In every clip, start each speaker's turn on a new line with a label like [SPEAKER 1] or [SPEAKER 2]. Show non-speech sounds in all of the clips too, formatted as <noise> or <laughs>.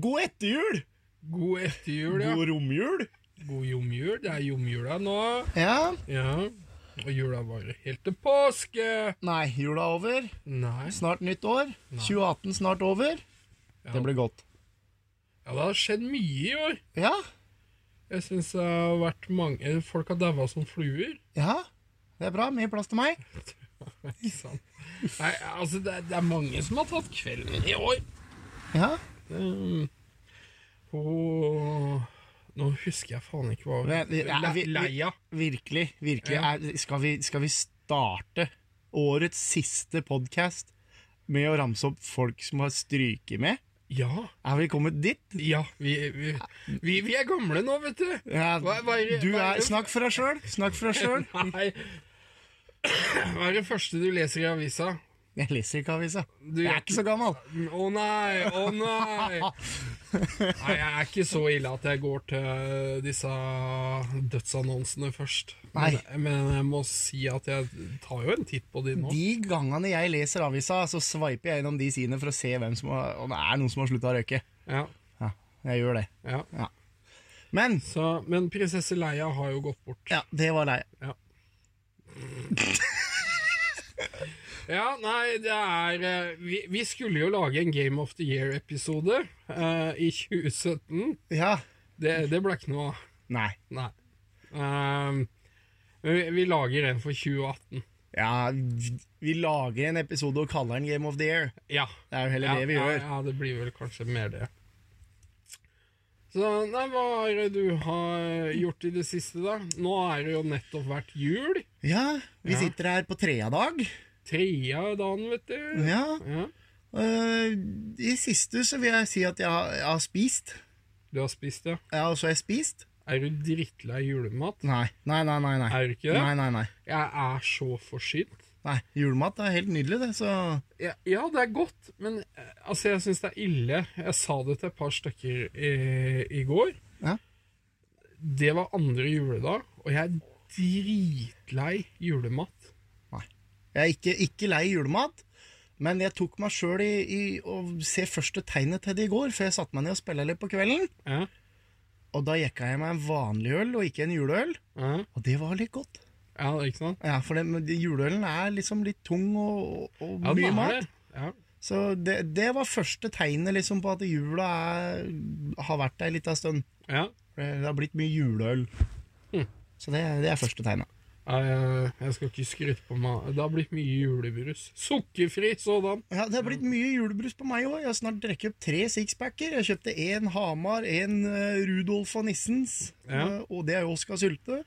[SPEAKER 1] God etterjul!
[SPEAKER 2] God etterjul, ja.
[SPEAKER 1] God romjul!
[SPEAKER 2] God jomjul. Det er jomjula nå.
[SPEAKER 1] Ja.
[SPEAKER 2] Ja. Og jula varer helt til påske.
[SPEAKER 1] Nei, jula er over.
[SPEAKER 2] Nei.
[SPEAKER 1] Snart nytt år. 2018 snart over.
[SPEAKER 2] Ja.
[SPEAKER 1] Det blir godt.
[SPEAKER 2] Ja, det har skjedd mye i år.
[SPEAKER 1] Ja.
[SPEAKER 2] Jeg syns det har vært mange Folk har daua som fluer.
[SPEAKER 1] Ja. Det er bra. Mye plass til meg.
[SPEAKER 2] Ikke sant? liksom. Nei, altså, det er, det er mange som har tatt kvelden i år.
[SPEAKER 1] Ja.
[SPEAKER 2] Um, og Nå husker jeg faen ikke hva
[SPEAKER 1] Men, ja,
[SPEAKER 2] Le-
[SPEAKER 1] vi- vi-
[SPEAKER 2] Leia.
[SPEAKER 1] Virkelig. virkelig.
[SPEAKER 2] Ja.
[SPEAKER 1] Er, skal, vi, skal vi starte årets siste podkast med å ramse opp folk som har stryket med?
[SPEAKER 2] Ja.
[SPEAKER 1] Er vi kommet dit?
[SPEAKER 2] Ja, vi, vi, vi, vi er gamle nå, vet du.
[SPEAKER 1] Ja,
[SPEAKER 2] Hva- hva er det-
[SPEAKER 1] du
[SPEAKER 2] hva er
[SPEAKER 1] er,
[SPEAKER 2] det-
[SPEAKER 1] snakk for deg sjøl. Snakk for deg sjøl.
[SPEAKER 2] Nei. Hva er det første du leser i avisa?
[SPEAKER 1] Jeg leser ikke avisa.
[SPEAKER 2] Du-
[SPEAKER 1] Jeg er ikke så gammel.
[SPEAKER 2] Å nei, å nei! Nei, jeg er ikke så ille at jeg går til disse dødsannonsene først. Men,
[SPEAKER 1] Nei.
[SPEAKER 2] men jeg må si at jeg tar jo en titt på de nå.
[SPEAKER 1] De gangene jeg leser avisa, så sveiper jeg gjennom de sidene for å se hvem som har, om det er noen som har slutta å røyke.
[SPEAKER 2] Ja,
[SPEAKER 1] Ja, jeg gjør det.
[SPEAKER 2] ja.
[SPEAKER 1] Men
[SPEAKER 2] Så, men prinsesse Leia har jo gått bort.
[SPEAKER 1] ja, det var lei.
[SPEAKER 2] Ja. Ja, nei, det er eh, Vi, vi skulle jo lage en Game of the Year-episode eh, i 2017.
[SPEAKER 1] Ja.
[SPEAKER 2] Det, det ble ikke noe av.
[SPEAKER 1] Nei.
[SPEAKER 2] Nei. Ehm, men vi, vi lager en for 2018.
[SPEAKER 1] Ja, vi vi lager en episode og kaller den Game of the Year.
[SPEAKER 2] Ja.
[SPEAKER 1] Det er jo heller
[SPEAKER 2] ja,
[SPEAKER 1] det vi
[SPEAKER 2] ja,
[SPEAKER 1] gjør.
[SPEAKER 2] Ja, det blir vel kanskje mer det. Så nei, hva er det du har gjort i det siste, da? Nå er det jo nettopp vært jul.
[SPEAKER 1] Ja, vi
[SPEAKER 2] Ja.
[SPEAKER 1] sitter her på trea dag.
[SPEAKER 2] Trea dagen, vet du.
[SPEAKER 1] Ja.
[SPEAKER 2] Ja.
[SPEAKER 1] øh, I siste så vil jeg si at jeg har, jeg har spist.
[SPEAKER 2] Du har spist, ja.
[SPEAKER 1] Ja, og så har jeg spist.
[SPEAKER 2] Er du drittlei julemat?
[SPEAKER 1] Nei, nei, nei. nei, nei.
[SPEAKER 2] Er du ikke det?
[SPEAKER 1] Nei, nei, nei.
[SPEAKER 2] Jeg er så forsynt.
[SPEAKER 1] nei. Julemat er helt nydelig, det, så
[SPEAKER 2] Ja, ja, det er godt, men eh, altså, jeg syns det er ille. Jeg sa det til et par stykker eh, i går.
[SPEAKER 1] Ja.
[SPEAKER 2] Det var andre juledag, og jeg er dritlei julemat.
[SPEAKER 1] Nei. Jeg er ikke, ikke lei julemat, men jeg tok meg sjøl i, i å se første tegnet til det i går, for jeg satte meg ned og spilte litt på kvelden.
[SPEAKER 2] Ja,
[SPEAKER 1] Og da jekka jeg meg en vanlig øl og ikke en juleøl,
[SPEAKER 2] ja,
[SPEAKER 1] og det var litt godt.
[SPEAKER 2] ja ikke sant?
[SPEAKER 1] Ja, For den, men de- juleølen er liksom litt tung og, og, og
[SPEAKER 2] Ja, den
[SPEAKER 1] mye
[SPEAKER 2] er
[SPEAKER 1] mat.
[SPEAKER 2] det. Ja.
[SPEAKER 1] Så det, det var første tegnet liksom på at jula er, har vært der ei lita stund.
[SPEAKER 2] Ja.
[SPEAKER 1] For Det, det har blitt mye juleøl.
[SPEAKER 2] Hm.
[SPEAKER 1] Så det, det er første tegnet.
[SPEAKER 2] Nei, Jeg, jeg skal ikke skryte på meg. Det har blitt mye julebrus. Sukkerfri sådan.
[SPEAKER 1] Ja, Det har blitt
[SPEAKER 2] Mm.
[SPEAKER 1] mye julebrus på meg òg. Jeg har snart drukket opp tre sixpacker. Jeg kjøpte én Hamar, én eh, Rudolf og Nissens,
[SPEAKER 2] Ja.
[SPEAKER 1] eh, og det er jo Oskar Sylte.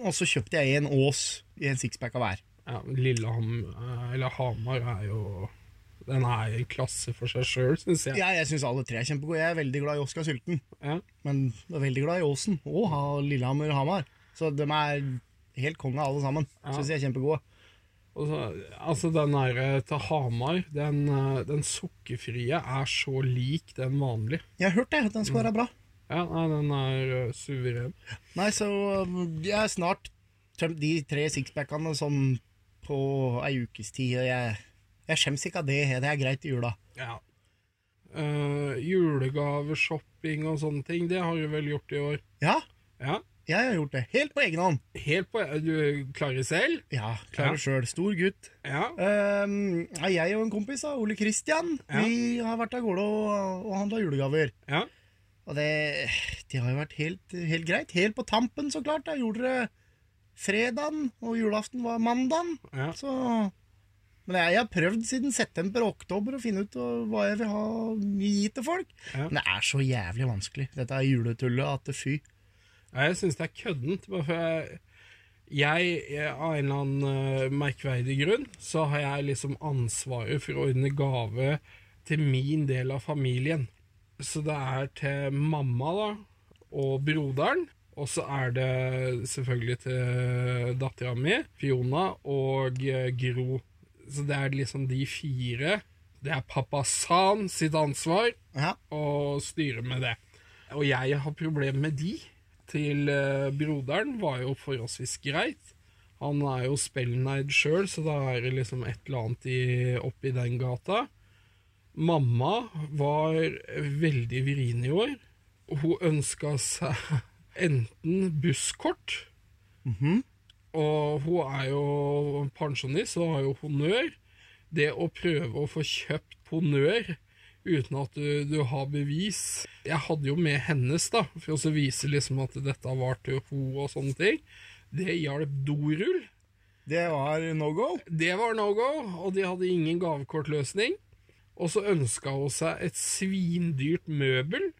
[SPEAKER 1] Og så kjøpte jeg én Ås i en sixpack av hver.
[SPEAKER 2] Ja, Lilleham, eh, eller Hamar er jo Den er en klasse for seg sjøl, syns jeg.
[SPEAKER 1] Ja, jeg syns alle tre er kjempegode. Jeg er veldig glad i Oskar Sylten,
[SPEAKER 2] Ja.
[SPEAKER 1] men jeg er veldig glad i Åsen og ha- Lillehammer og Hamar. Så de er helt konge alle sammen.
[SPEAKER 2] Ja.
[SPEAKER 1] Syns de er kjempegode.
[SPEAKER 2] Og så- altså den der til Hamar, den, eh, den sukkerfrie er så lik den vanlige.
[SPEAKER 1] Jeg har hørt det, at den
[SPEAKER 2] Mm.
[SPEAKER 1] skal være bra.
[SPEAKER 2] Ja, nei, den er eh, suveren.
[SPEAKER 1] Nei, så um, jeg er snart tømt de tre sixpackene sånn på ei ukes tid, og jeg, jeg skjems ikke av det. Det er greit i jula.
[SPEAKER 2] Ja. Eh, julegaveshopping og sånne ting, det har du vel gjort i år?
[SPEAKER 1] Ja,
[SPEAKER 2] Ja.
[SPEAKER 1] jeg har gjort det. Helt på egen hånd.
[SPEAKER 2] Helt på Du klarer selv?
[SPEAKER 1] Ja, klarer
[SPEAKER 2] Ja.
[SPEAKER 1] det sjøl. Stor gutt.
[SPEAKER 2] Ja.
[SPEAKER 1] Um, ja, jeg og en kompis, da, Ole Kristian,
[SPEAKER 2] Ja.
[SPEAKER 1] vi har vært av gårde og, og handla julegaver.
[SPEAKER 2] ja.
[SPEAKER 1] Og det, det har jo vært helt, helt greit. Helt på tampen, så klart. da, Gjorde det fredagen, og julaften var mandagen.
[SPEAKER 2] ja.
[SPEAKER 1] Så Men jeg, jeg har prøvd siden september og oktober å finne ut uh, hva jeg vil ha gi til folk.
[SPEAKER 2] Ja.
[SPEAKER 1] Men det er så jævlig vanskelig, dette er juletullet, at det fy.
[SPEAKER 2] Ja, Jeg syns det er køddent. Bare for jeg, jeg, jeg, av en eller annen eh, merkverdig grunn, så har jeg liksom ansvaret for å ordne gave til min del av familien. Så det er til mamma, da, og broderen. Og så er det selvfølgelig til dattera mi, Fiona, og eh, Gro. Så det er liksom de fire. Det er pappa San sitt ansvar
[SPEAKER 1] Ja.
[SPEAKER 2] og styre med det. Og jeg har problemer med de. Til eh, broderen var jo forholdsvis greit. Han er jo spellneid sjøl, så da er det liksom et eller annet i, oppi den gata. Mamma var veldig vrien i år. og Hun ønska seg enten busskort Og hun er jo pensjonist og har jo honnør. Det å prøve å få kjøpt honnør uten at du, du har bevis Jeg hadde jo med hennes, da, for å så vise liksom at dette var til henne og sånne ting. Det hjalp dorull.
[SPEAKER 1] Det var no go.
[SPEAKER 2] Det var no go, og de hadde ingen gavekortløsning. Og så ønska hun seg et svindyrt møbel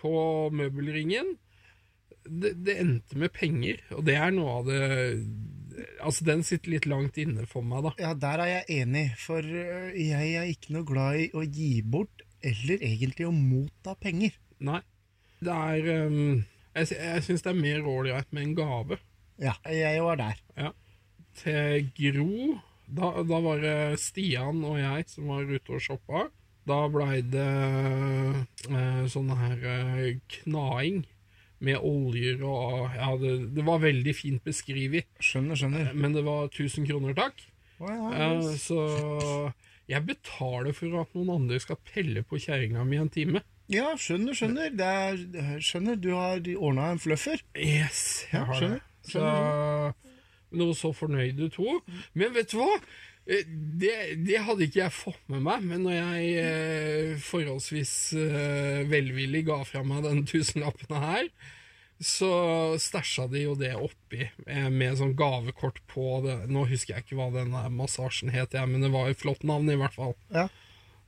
[SPEAKER 2] på møbelringen. Det, det endte med penger, og det er noe av det Altså, den sitter litt langt inne for meg, da.
[SPEAKER 1] Ja, der er jeg enig, for øh, jeg er ikke noe glad i å gi bort, eller egentlig å motta penger.
[SPEAKER 2] Nei. Det er um, Jeg, sy- jeg syns det er mer ålreit med en gave.
[SPEAKER 1] Ja, jeg var der.
[SPEAKER 2] til Gro. Da, da var det Stian og jeg som var ute og shoppa. Da blei det eh, sånn her eh, knaing med oljer og Ja, det, det var veldig fint beskrevet,
[SPEAKER 1] Skjønner, skjønner.
[SPEAKER 2] men det var 1000 kroner, takk.
[SPEAKER 1] Å, ja,
[SPEAKER 2] Eh, så jeg betaler for at noen andre skal pelle på kjerringa mi en time.
[SPEAKER 1] ja, skjønner, skjønner. Det er, skjønner, du har ordna en fluffer.
[SPEAKER 2] Yes, jeg
[SPEAKER 1] Ja,
[SPEAKER 2] har det.
[SPEAKER 1] skjønner,
[SPEAKER 2] Så, men hun så fornøyd ut, hun. Men vet du hva? Eh, Det, det hadde ikke jeg fått med meg, men når jeg eh, forholdsvis eh, velvillig ga fra meg den tusenlappen her, så stæsja de jo det oppi eh, med sånn gavekort på det. Nå husker jeg ikke hva den der massasjen het, jeg, men det var et flott navn i hvert fall.
[SPEAKER 1] Ja.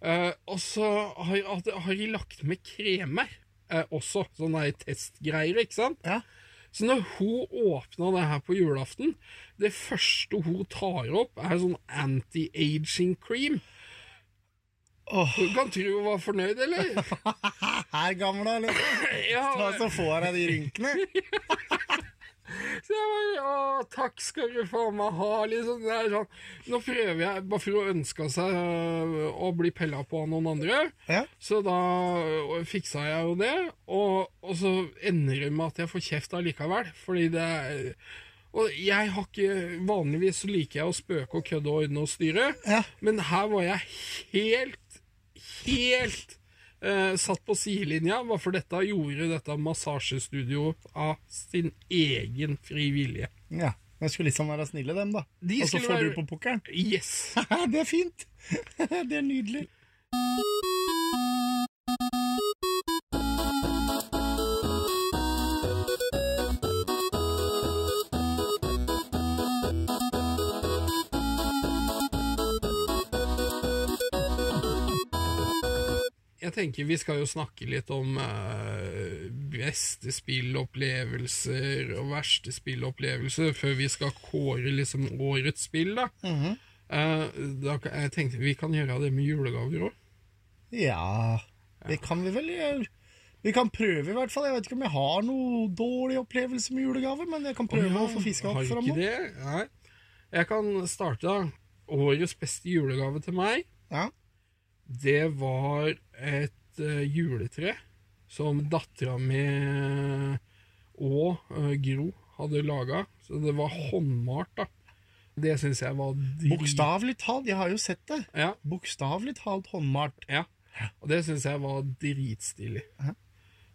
[SPEAKER 2] Eh, og så har, at- har de lagt med kremer eh, også, sånne der testgreier, ikke sant?
[SPEAKER 1] Ja.
[SPEAKER 2] Så når hun åpna det her på julaften, det første hun tar opp, er sånn anti-aging cream.
[SPEAKER 1] Åh,
[SPEAKER 2] Du kan tro hun var fornøyd,
[SPEAKER 1] <laughs>
[SPEAKER 2] eller?
[SPEAKER 1] her, gamla, liksom.
[SPEAKER 2] Ja,
[SPEAKER 1] Ta så får jeg de rynkene.
[SPEAKER 2] så jeg bare, å, takk skal du faen meg ha, liksom. Det er sånn. Nå prøver jeg, bare for hun ønska seg øh, å bli pella på av noen andre,
[SPEAKER 1] Ja.
[SPEAKER 2] så da øh, fiksa jeg jo det. Og, og så ender det med at jeg får kjeft allikevel, fordi det er- og jeg har ikke, Vanligvis så liker jeg å spøke og kødde og ordne og styre,
[SPEAKER 1] Ja.
[SPEAKER 2] men her var jeg helt, helt eh, satt på sidelinja. Hvorfor dette gjorde dette massasjestudioet av sin egen fri vilje.
[SPEAKER 1] ja. De skulle liksom være snille, dem, da.
[SPEAKER 2] De
[SPEAKER 1] Og så
[SPEAKER 2] skulle
[SPEAKER 1] får
[SPEAKER 2] være-
[SPEAKER 1] du på <laughs> pukkelen.
[SPEAKER 2] Yes!
[SPEAKER 1] det er fint. <laughs> det er nydelig.
[SPEAKER 2] Jeg tenker vi skal jo snakke litt om eh, beste spillopplevelser og verste spillopplevelser før vi skal kåre liksom årets spill, da.
[SPEAKER 1] Mhm.
[SPEAKER 2] Eh, da kan- jeg tenkte vi kan gjøre det med julegaver òg.
[SPEAKER 1] Ja, det kan vi vel gjøre. Vi kan prøve i hvert fall. Jeg vet ikke om jeg har noe dårlig opplevelse med julegave, men jeg kan prøve å få fiska opp
[SPEAKER 2] Har
[SPEAKER 1] fram nå.
[SPEAKER 2] ikke det? Nei. Jeg kan starte, da. Årets beste julegave til meg.
[SPEAKER 1] Ja.
[SPEAKER 2] Det var et eh, juletre som dattera mi og eh, Gro hadde laga. Så det var håndmalt, da. Det syns jeg var drit-
[SPEAKER 1] Bokstavelig talt, jeg har jo sett det.
[SPEAKER 2] Ja,
[SPEAKER 1] Bokstavelig talt håndmalt.
[SPEAKER 2] ja. Og det syns jeg var dritstilig.
[SPEAKER 1] Ja.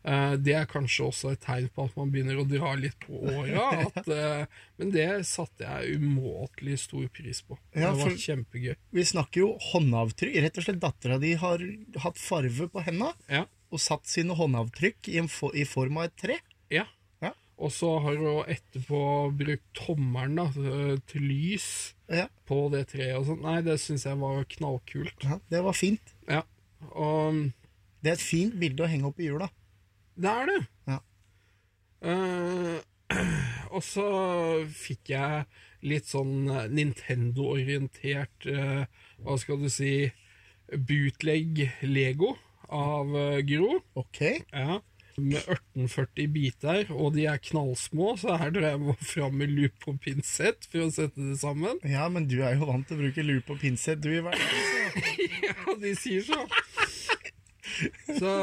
[SPEAKER 2] Eh, det er kanskje også et tegn på at man begynner å dra litt på åra.
[SPEAKER 1] <laughs>
[SPEAKER 2] at, eh, men det satte jeg umåtelig stor pris på.
[SPEAKER 1] Ja,
[SPEAKER 2] det var
[SPEAKER 1] for-
[SPEAKER 2] kjempegøy.
[SPEAKER 1] Vi snakker jo håndavtrykk. Rett og slett dattera di har hatt farve på henda
[SPEAKER 2] Ja.
[SPEAKER 1] og satt sine håndavtrykk i, en fo i form av et tre.
[SPEAKER 2] Ja.
[SPEAKER 1] Ja.
[SPEAKER 2] Og så har hun etterpå brukt tommelen da, eh, til lys
[SPEAKER 1] Ja,
[SPEAKER 2] på det treet og sånn. Nei, det syns jeg var knallkult.
[SPEAKER 1] ja, det var fint.
[SPEAKER 2] Ja. Og mm,
[SPEAKER 1] Det er et fint bilde å henge opp i jula.
[SPEAKER 2] det er det.
[SPEAKER 1] Ja.
[SPEAKER 2] Eh, <clears throat> og så fikk jeg litt sånn eh, Nintendo-orientert eh, Hva skal du si Bootleg Lego av eh, Gro.
[SPEAKER 1] Ok,
[SPEAKER 2] Ja. Med 1840 biter, og de er knallsmå, så her tror jeg jeg må fram med loop og pinsett for å sette det sammen.
[SPEAKER 1] ja, men du er jo vant til å bruke lupe og pinsett, du i hverdagen. så-
[SPEAKER 2] <laughs> Ja, de sier så. så.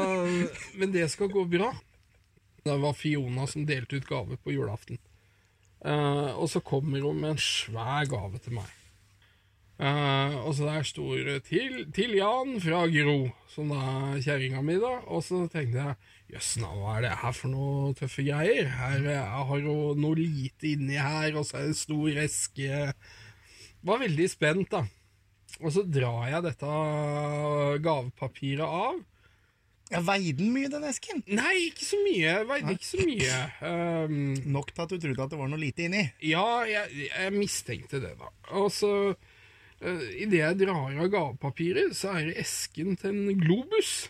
[SPEAKER 2] Men det skal gå bra. Det var Fiona som delte ut gave på julaften. Eh, og så kommer hun med en svær gave til meg. Eh, og så der sto det til, 'Til Jan fra Gro', som da er kjerringa mi, da. Og så tenkte jeg 'jøss, nå, hva er det her for noe tøffe greier?' Her eh, jeg har jo noe lite inni her, og så er det en stor eske Var veldig spent, da. Og så drar jeg dette gavepapiret av.
[SPEAKER 1] Jeg veide den mye, den esken.
[SPEAKER 2] Nei, ikke så mye. Jeg veide ikke så mye. Um,
[SPEAKER 1] Nok til at du trodde at det var noe lite inni.
[SPEAKER 2] Ja, jeg, jeg mistenkte det, da. Og så uh, Idet jeg drar av gavepapiret, så er det esken til en globus.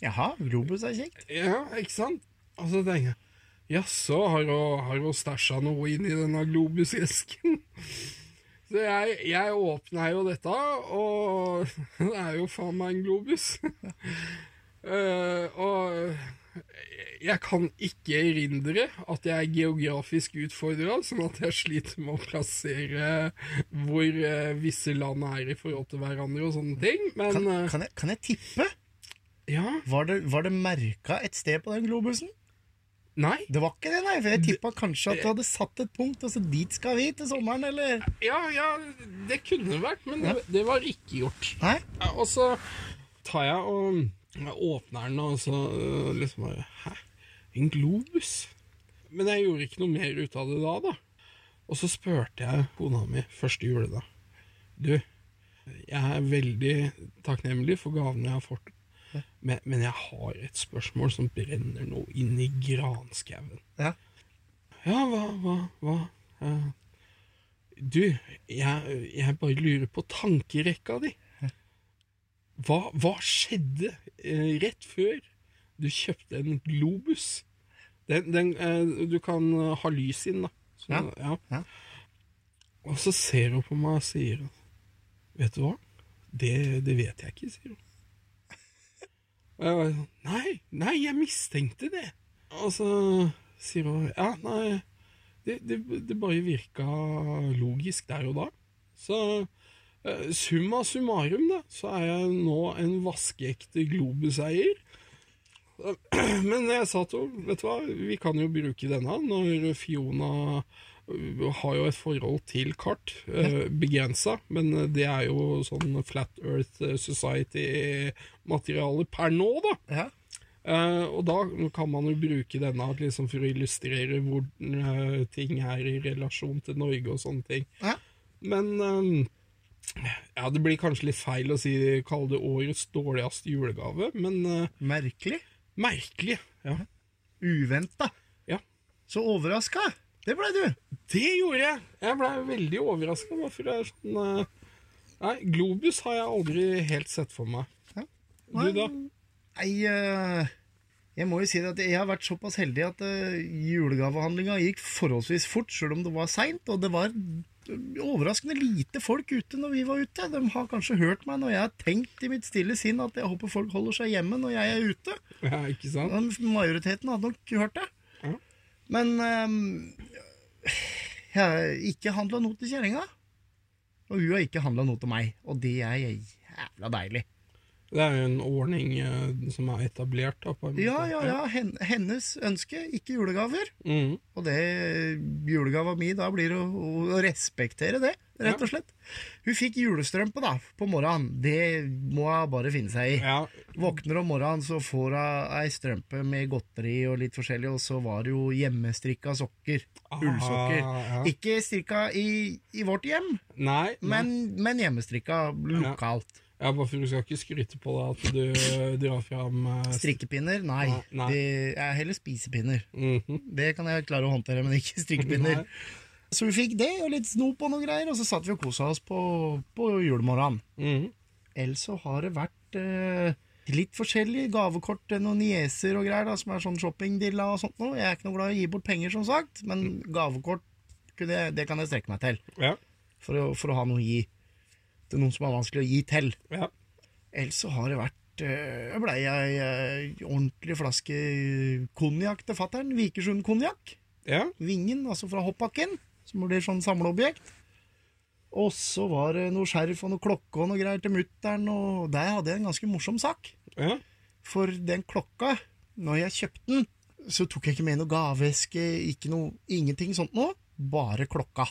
[SPEAKER 1] Jaha, Globus er kjekt.
[SPEAKER 2] Ja, ikke sant? Og så tenker jeg Jaså, har hun- har hun stæsja noe inn i denne globusesken? <laughs> Så jeg, jeg åpner jo dette, og <laughs> det er jo faen meg en globus. <laughs> Eh, og jeg kan ikke erindre at jeg er geografisk utfordra, sånn at jeg sliter med å plassere hvor eh, visse land er i forhold til hverandre og sånne ting. Men
[SPEAKER 1] Kan,
[SPEAKER 2] eh,
[SPEAKER 1] kan, jeg, kan jeg tippe?
[SPEAKER 2] ja,
[SPEAKER 1] Var det, var det merka et sted på den globusen?
[SPEAKER 2] nei.
[SPEAKER 1] Det var ikke det, nei. For jeg tippa kanskje at du hadde satt et punkt, og så dit skal vi til sommeren, eller
[SPEAKER 2] Ja, ja, det kunne vært, men det, det var ikke gjort.
[SPEAKER 1] Nei?
[SPEAKER 2] Ja, Og så tar jeg og jeg åpner den, og så øh, liksom bare Hæ? En globus? Men jeg gjorde ikke noe mer ut av det da, da. Og så spurte jeg kona mi første juledag. Du, jeg er veldig takknemlig for gavene jeg har fått, men, men jeg har et spørsmål som brenner noe inni granskauen.
[SPEAKER 1] Ja.
[SPEAKER 2] Ja, hva, hva, hva? Eh, du, jeg, jeg bare lurer på tankerekka di. Hva, hva skjedde eh, rett før du kjøpte en globus? Den, den, eh, du kan eh, ha lys inn, da. Så,
[SPEAKER 1] Ja. Ja.
[SPEAKER 2] Og så ser hun på meg og sier Vet du hva? Det, det vet jeg ikke, sier hun. Og jeg var sånn, nei, nei, jeg mistenkte det. Og så sier hun Ja, nei, det, det, det bare virka logisk der og da. Så eh, summa summarum, da, så er jeg nå en vaskeekte globuseier. Men jeg sa til henne Vet du hva, vi kan jo bruke denne når Fiona eh, har jo et forhold til kart. eh, Begrensa, men det er jo sånn Flat Earth Society-materiale per nå, da.
[SPEAKER 1] Ja.
[SPEAKER 2] Eh, og da kan man jo bruke denne liksom, for å illustrere hvor eh, ting er i relasjon til Norge og sånne ting.
[SPEAKER 1] Ja.
[SPEAKER 2] Men eh, ja, det blir kanskje litt feil å si, kalle det årets dårligste julegave, men eh,
[SPEAKER 1] Merkelig.
[SPEAKER 2] merkelig. Ja.
[SPEAKER 1] Uventa.
[SPEAKER 2] Ja.
[SPEAKER 1] Så overraska. Det ble du.
[SPEAKER 2] Det gjorde jeg! Jeg ble veldig overraska. Hvorfor det er sånn eh, Nei, Globus har jeg aldri helt sett for meg. <laughs>
[SPEAKER 1] Ja.
[SPEAKER 2] Du, da?
[SPEAKER 1] Nei, eh, jeg må jo si det at jeg har vært såpass heldig at uh, julegavehandlinga gikk forholdsvis fort, selv om det var seint. Og det var eh, overraskende lite folk ute når vi var ute. De har kanskje hørt meg når jeg har tenkt i mitt stille sinn at jeg håper folk holder seg hjemme når jeg er ute.
[SPEAKER 2] Ja, ikke sant?
[SPEAKER 1] Men majoriteten hadde nok hørt det.
[SPEAKER 2] Ja.
[SPEAKER 1] Men ehm, jeg har ikke handla noe til kjerringa. Og hun har ikke handla noe til meg. Og det er jævla deilig.
[SPEAKER 2] Det er jo en ordning eh, som er etablert. Da, på en måte.
[SPEAKER 1] Ja, ja, ja. hen- Hennes ønske, ikke julegaver.
[SPEAKER 2] Mhm.
[SPEAKER 1] Og det julegava mi da blir å, å respektere det, rett og slett. Hun fikk julestrømpe da, på morgenen. Det må hun bare finne seg i.
[SPEAKER 2] ja.
[SPEAKER 1] Våkner om morgenen, så får hun ei strømpe med godteri og litt forskjellig, og så var det jo hjemmestrikka sokker. Ullsokker.
[SPEAKER 2] Ah, ja.
[SPEAKER 1] Ikke strikka i, i vårt hjem,
[SPEAKER 2] Nei, men
[SPEAKER 1] men, men hjemmestrikka lokalt.
[SPEAKER 2] ja, bare for Du skal ikke skryte på deg at du drar fram eh,
[SPEAKER 1] Strikkepinner? Nei.
[SPEAKER 2] Nei, nei.
[SPEAKER 1] Det er heller spisepinner.
[SPEAKER 2] Mhm.
[SPEAKER 1] Det kan jeg klare å håndtere, men ikke strikkepinner. Så vi fikk det, og litt snop og noe greier, og så satt vi og kosa oss på, på julemorgenen.
[SPEAKER 2] Mhm.
[SPEAKER 1] Ellers så har det vært eh, litt forskjellige gavekort til noen nieser og greier, da, som er sånn shoppingdilla og sånt noe. Jeg er ikke noe glad i å gi bort penger, som sagt, men gavekort kunne jeg, det kan jeg strekke meg til.
[SPEAKER 2] Ja,
[SPEAKER 1] For å, for å ha noe å gi til noen som er vanskelig å gi til.
[SPEAKER 2] ja.
[SPEAKER 1] Ellers så har det vært eh, Jeg blei ei eh, ordentlig flaske konjakk til fattern. Vikersund konjakk.
[SPEAKER 2] ja.
[SPEAKER 1] Vingen, altså fra hoppbakken, som blir sånn samleobjekt. Og så var det noe skjerf og noe klokke og noe greier til mutter'n, og der hadde jeg en ganske morsom sak.
[SPEAKER 2] ja.
[SPEAKER 1] For den klokka, når jeg kjøpte den, så tok jeg ikke med noe gaveeske, ikke noe, ingenting sånt noe. Bare klokka.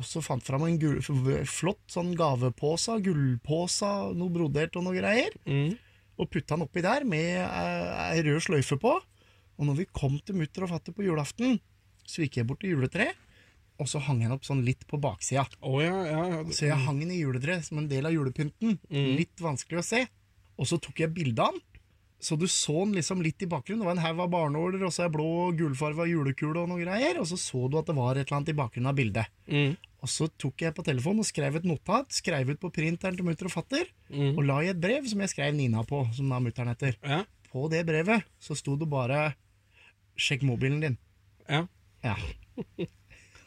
[SPEAKER 1] også fant fram en gul, f- flott sånn gavepose, gullpose, noe brodert og noe greier.
[SPEAKER 2] Mm.
[SPEAKER 1] Og putta den oppi der med eh, ei rød sløyfe på. Og når vi kom til mutter og fatter på julaften, så gikk jeg bort til juletreet, og så hang jeg den opp sånn litt på baksida.
[SPEAKER 2] Å ja, ja. ja.
[SPEAKER 1] Så jeg hang den i juletreet som en del av julepynten. Litt vanskelig å se. Og så tok jeg bilde av den. Så du så den liksom litt i bakgrunnen. Det var en haug av barnåler og så ei blå og gulfarga julekule og noe greier. Og så så du at det var et eller annet i bakgrunnen av bildet.
[SPEAKER 2] Mm.
[SPEAKER 1] Og så tok jeg på telefonen og skrev et notat. Skrev ut på printeren til mutter og fatter.
[SPEAKER 2] Mm.
[SPEAKER 1] Og la i et brev som jeg skrev Nina på, som da mutter'n heter.
[SPEAKER 2] ja,
[SPEAKER 1] På det brevet så sto det bare 'sjekk mobilen din'.
[SPEAKER 2] ja.
[SPEAKER 1] Ja. <laughs>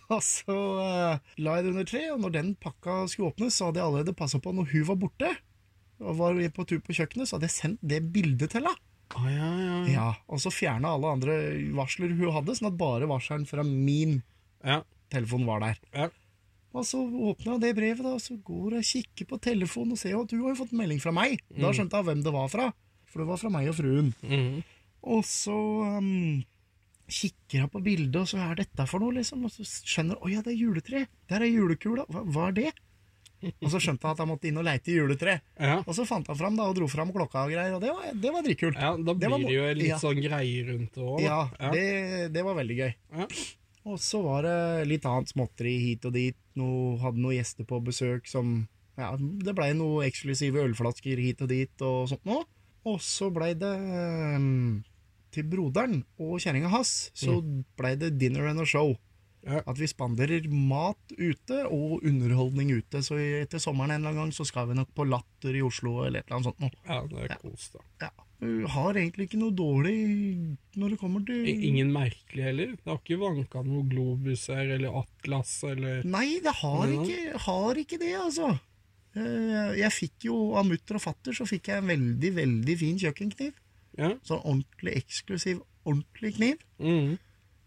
[SPEAKER 1] Og så eh, la jeg det under treet, og når den pakka skulle åpnes, så hadde jeg allerede passa på når hun var borte. Og var på tur på kjøkkenet, så hadde jeg sendt det bildet til henne.
[SPEAKER 2] Å ja, ja, ja.
[SPEAKER 1] Ja, og så fjerna alle andre varsler hun hadde, sånn at bare varselen fra min
[SPEAKER 2] ja.
[SPEAKER 1] telefon var der.
[SPEAKER 2] ja.
[SPEAKER 1] Og så åpna jeg det brevet, da, og så går jeg og kikker på telefonen og ser jo at hun har jo fått melding fra meg. Da skjønte jeg hvem det var fra, for det var fra meg og fruen.
[SPEAKER 2] Mm.
[SPEAKER 1] Og så um, kikker jeg på bildet, og så er dette for noe, liksom. Og så skjønner jeg, å ja, det er juletre. Der er julekula. Hva, hva er det? Og så skjønte jeg at jeg måtte inn og leite i juletre.
[SPEAKER 2] ja.
[SPEAKER 1] Og så fant jeg fram da, og dro fram klokka og greier, og det var, det var dritkult.
[SPEAKER 2] Ja, da
[SPEAKER 1] Det var
[SPEAKER 2] blir
[SPEAKER 1] mo-
[SPEAKER 2] det jo en litt
[SPEAKER 1] ja.
[SPEAKER 2] sånn greie rundt det òg.
[SPEAKER 1] Ja, det, det var veldig gøy.
[SPEAKER 2] Ja.
[SPEAKER 1] Og så var det litt annet småtteri hit og dit. Noe, hadde noen gjester på besøk som ja, Det blei noen eksklusive ølflasker hit og dit og sånt noe. Og så blei det ehm, til broderen og kjerringa hans så blei det dinner and a show.
[SPEAKER 2] Ja.
[SPEAKER 1] At vi spanderer mat ute og underholdning ute. Så i- etter sommeren en eller annen gang så skal vi nok på Latter i Oslo eller et eller annet sånt noe.
[SPEAKER 2] ja, det er kos, da.
[SPEAKER 1] Ja. Hun Har egentlig ikke noe dårlig når det kommer til
[SPEAKER 2] I- Ingen merkelig heller. Det har ikke vanka noe Globus her, eller Atlas, eller
[SPEAKER 1] Nei, det har
[SPEAKER 2] Ja.
[SPEAKER 1] ikke, har ikke det, altså. Eh, Jeg fikk jo av mutter og fatter så fikk jeg en veldig, veldig fin kjøkkenkniv.
[SPEAKER 2] Ja.
[SPEAKER 1] Sånn ordentlig eksklusiv, ordentlig kniv.
[SPEAKER 2] Mm.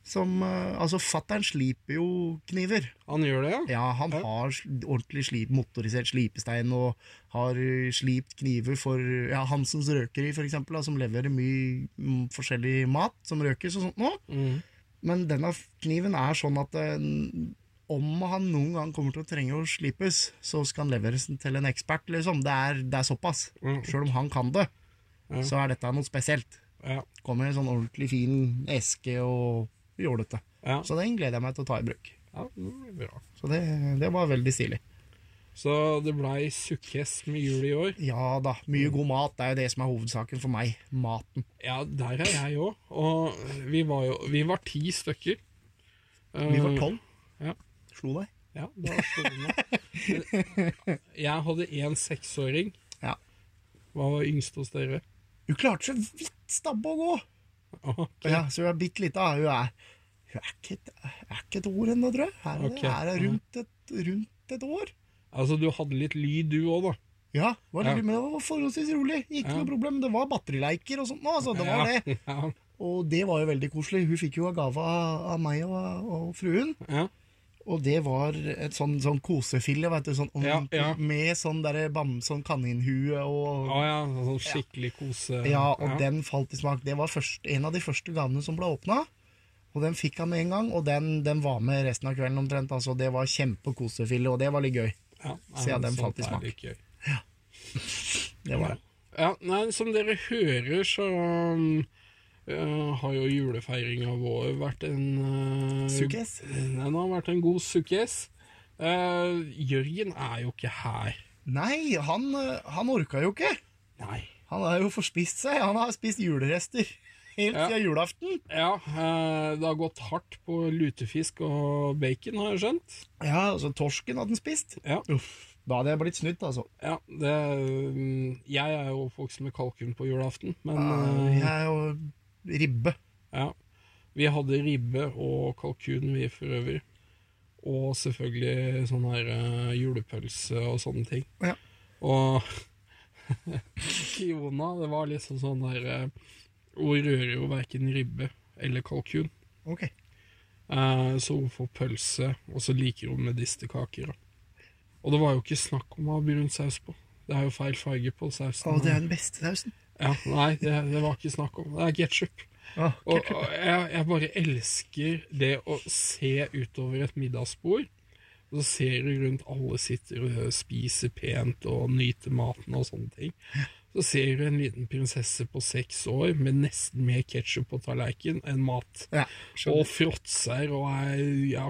[SPEAKER 1] Som eh, Altså, fattern sliper jo kniver.
[SPEAKER 2] Han gjør det, ja?
[SPEAKER 1] Ja, han
[SPEAKER 2] Ja.
[SPEAKER 1] har sl- ordentlig slip, motorisert slipestein og har eh, slipt kniver for ja, Hansens Røkeri, for eksempel, da, som leverer mye mm, forskjellig mat som røkes og sånt noe.
[SPEAKER 2] Mm.
[SPEAKER 1] Men denne kniven er sånn at eh, om han noen gang kommer til å trenge å slipes, så skal han leveres til en ekspert, liksom. Det er, det er såpass.
[SPEAKER 2] Mm.
[SPEAKER 1] Sjøl om han kan det,
[SPEAKER 2] Ja.
[SPEAKER 1] så er dette noe spesielt.
[SPEAKER 2] ja.
[SPEAKER 1] Kommer i en sånn ordentlig fin eske og jålete.
[SPEAKER 2] Ja.
[SPEAKER 1] Så den gleder jeg meg til å ta i bruk.
[SPEAKER 2] ja, det blir bra.
[SPEAKER 1] Så det, det var veldig stilig.
[SPEAKER 2] Så det blei sukkes med jul i år.
[SPEAKER 1] Ja da, mye god mat. Det er jo det som er hovedsaken for meg. Maten.
[SPEAKER 2] Ja, der er jeg òg. Og vi var jo Vi var ti stykker.
[SPEAKER 1] Vi var
[SPEAKER 2] Eh,
[SPEAKER 1] tolv.
[SPEAKER 2] ja.
[SPEAKER 1] Slo deg.
[SPEAKER 2] Ja, da slo det meg.
[SPEAKER 1] <laughs>
[SPEAKER 2] Jeg hadde én seksåring.
[SPEAKER 1] Ja.
[SPEAKER 2] Hva var yngst hos dere?
[SPEAKER 1] Hun klarte så vidt stabbe å gå.
[SPEAKER 2] Å,
[SPEAKER 1] Ja, så hun er bitte lita. Hun er, hun er, ikke, et, er ikke et år ennå, tror jeg. Her er,
[SPEAKER 2] Ok.
[SPEAKER 1] det, her er rundt, et, rundt et år.
[SPEAKER 2] Altså, du hadde litt lyd du òg, da.
[SPEAKER 1] Ja, var
[SPEAKER 2] Ja.
[SPEAKER 1] rolig, men det var forholdsvis rolig. Ikke
[SPEAKER 2] Ja.
[SPEAKER 1] noe problem. Det var batterileiker og sånt. nå, Altså, det var det.
[SPEAKER 2] Ja,
[SPEAKER 1] Og det var jo veldig koselig. Hun fikk jo av gave av, av meg og, og fruen.
[SPEAKER 2] ja,
[SPEAKER 1] Og det var et sånn, sånn kosefille, vet du, sånn,
[SPEAKER 2] Ja, ja.
[SPEAKER 1] med sånn, derre bam, sånn kaninhue og
[SPEAKER 2] ja, ja sånn skikkelig kose...
[SPEAKER 1] Ja, og den falt i smak. Det var først, en av de første gavene som ble åpna. Og den fikk han med en gang, og den, den var med resten av kvelden omtrent. Altså, det var kjempekosefille, og det var litt gøy.
[SPEAKER 2] ja, nei,
[SPEAKER 1] se, ja,
[SPEAKER 2] men
[SPEAKER 1] den
[SPEAKER 2] sånt
[SPEAKER 1] falt i
[SPEAKER 2] er
[SPEAKER 1] smak.
[SPEAKER 2] det ikke.
[SPEAKER 1] Det var det.
[SPEAKER 2] Ja, nei, som dere hører, så um, eh, har jo julefeiringa vår vært en eh,
[SPEAKER 1] Sukkes?
[SPEAKER 2] Den har vært en god sukkes. Eh, Jørgen er jo ikke her.
[SPEAKER 1] Nei, han, eh, han orka jo ikke.
[SPEAKER 2] Nei.
[SPEAKER 1] Han har jo forspist seg. Han har spist julerester helt
[SPEAKER 2] Ja.
[SPEAKER 1] siden julaften.
[SPEAKER 2] Ja, eh, det har gått hardt på lutefisk og bacon, har jeg skjønt.
[SPEAKER 1] Ja, altså torsken hadde han spist.
[SPEAKER 2] Ja.
[SPEAKER 1] Uff, da hadde jeg blitt snytt, altså.
[SPEAKER 2] Ja, det, um, jeg er jo oppvokst med kalkun på julaften, men
[SPEAKER 1] Eh,
[SPEAKER 2] eh,
[SPEAKER 1] Jeg er jo ribbe.
[SPEAKER 2] Ja. Vi hadde ribbe og kalkun, vi for øvrig. Og selvfølgelig sånn her eh, julepølse og sånne ting.
[SPEAKER 1] Ja.
[SPEAKER 2] Og <laughs> Kiona, det var liksom sånn der eh, Hun rører jo verken ribbe eller kalkun.
[SPEAKER 1] Ok.
[SPEAKER 2] Eh, så hun får pølse, og så liker hun medisterkaker. da. Og det var jo ikke snakk om å ha brun saus på. Det er jo feil farge på sausen.
[SPEAKER 1] Og det er den beste sausen.
[SPEAKER 2] ja, nei, det, det var ikke snakk om. Det er ketsjup.
[SPEAKER 1] Ah,
[SPEAKER 2] Og, og jeg, jeg bare elsker det å se utover et middagsbord Og så ser du rundt, alle sitter og spiser pent og nyter maten og sånne ting. Så ser du en liten prinsesse på seks år med nesten mer ketsjup på tallerkenen enn mat.
[SPEAKER 1] Ja,
[SPEAKER 2] og
[SPEAKER 1] skjønner.
[SPEAKER 2] fråtser og er, ja,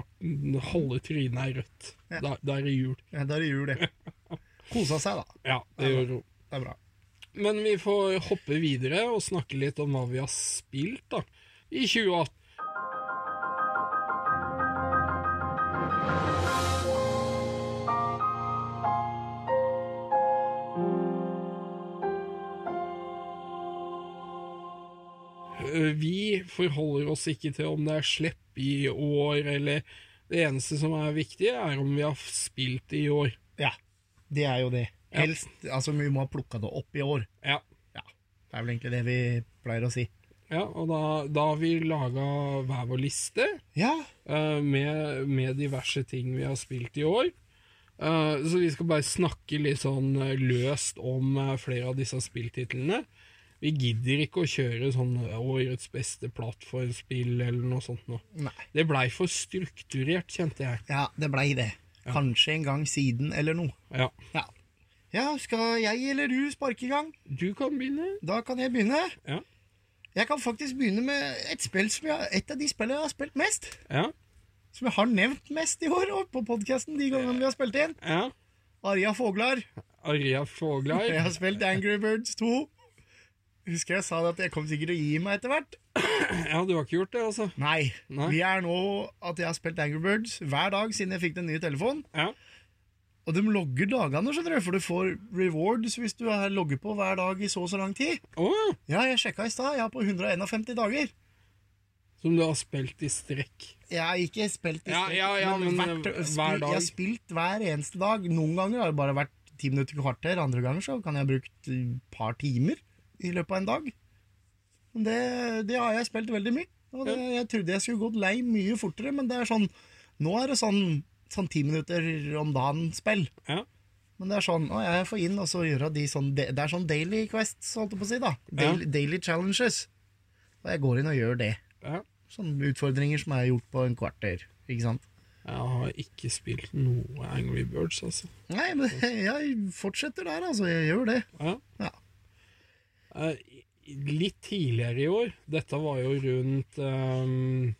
[SPEAKER 2] halve trynet er rødt. Da, da er det jul.
[SPEAKER 1] Ja, da er det jul, det. Kosa seg, da.
[SPEAKER 2] Ja, det gjør hun.
[SPEAKER 1] Det er bra.
[SPEAKER 2] Men vi får hoppe videre og snakke litt om hva vi har spilt da, i 2018. Eh, Vi forholder oss ikke til om det er slepp i år, eller det eneste som er viktig, er om vi har spilt i år.
[SPEAKER 1] Ja, det er jo det.
[SPEAKER 2] Ja.
[SPEAKER 1] Helst, altså Vi må ha plukka det opp i år.
[SPEAKER 2] Ja.
[SPEAKER 1] Ja, Det er vel egentlig det vi pleier å si.
[SPEAKER 2] Ja, og da, da har vi laga hver vår liste
[SPEAKER 1] Ja,
[SPEAKER 2] eh, med, med diverse ting vi har spilt i år. Eh, så vi skal bare snakke litt sånn eh, løst om eh, flere av disse spilltitlene. Vi gidder ikke å kjøre sånn eh, årets beste plattformspill eller noe sånt noe.
[SPEAKER 1] Nei.
[SPEAKER 2] Det blei for strukturert, kjente jeg.
[SPEAKER 1] ja det blei det. Kanskje en gang siden eller noe.
[SPEAKER 2] Ja.
[SPEAKER 1] Ja. ja, skal jeg eller du sparke i gang?
[SPEAKER 2] Du kan begynne.
[SPEAKER 1] Da kan jeg begynne.
[SPEAKER 2] Ja.
[SPEAKER 1] Jeg kan faktisk begynne med et, spill som jeg, et av de spillene jeg har spilt mest.
[SPEAKER 2] Ja.
[SPEAKER 1] Som jeg har nevnt mest i år og på podkasten de gangene vi har spilt inn.
[SPEAKER 2] ja.
[SPEAKER 1] Arja Foglar.
[SPEAKER 2] Arja Foglar.
[SPEAKER 1] Jeg har spilt Angry Birds 2. Husker jeg sa det at jeg kom sikkert til å gi meg etter hvert.
[SPEAKER 2] Ja, du har ikke gjort det, altså?
[SPEAKER 1] Nei.
[SPEAKER 2] Nei.
[SPEAKER 1] Vi er nå at jeg har spilt Angry Birds hver dag siden jeg fikk den nye telefonen.
[SPEAKER 2] Ja.
[SPEAKER 1] Og de logger dagene, skjønner du, for du får rewards hvis du er- logger på hver dag i så og så lang tid.
[SPEAKER 2] Å ja.
[SPEAKER 1] Ja, jeg sjekka i stad. Jeg er på 151 dager.
[SPEAKER 2] Som du har spilt i strekk.
[SPEAKER 1] Jeg har ikke spilt i
[SPEAKER 2] Ja,
[SPEAKER 1] strekk,
[SPEAKER 2] ja, ja, men,
[SPEAKER 1] hvert-
[SPEAKER 2] eh,
[SPEAKER 1] spill-
[SPEAKER 2] hver dag.
[SPEAKER 1] Jeg har spilt hver eneste dag. Noen ganger har det bare vært ti minutter til kvarter. Andre ganger så kan jeg ha brukt et par timer i løpet av en dag. Men Det, det har jeg spilt veldig mye. Og det, jeg trodde jeg skulle gått lei mye fortere, men det er sånn Nå er det sånn sånn ti minutter om dagen-spill.
[SPEAKER 2] Ja.
[SPEAKER 1] Men det er sånn, å, jeg får inn og så gjøre de sånn Det det er sånn daily quests, holdt jeg på å si, da. Daily, daily challenges. Og jeg går inn og gjør det
[SPEAKER 2] ja.
[SPEAKER 1] sånne utfordringer som er gjort på en kvarter. Ikke sant?
[SPEAKER 2] Jeg har ikke spilt noe Angry Birds, altså.
[SPEAKER 1] Nei, <laughs> men jeg fortsetter der, altså. Jeg gjør det.
[SPEAKER 2] Ja.
[SPEAKER 1] Ja.
[SPEAKER 2] Eh, Litt tidligere i år, dette var jo rundt ehm,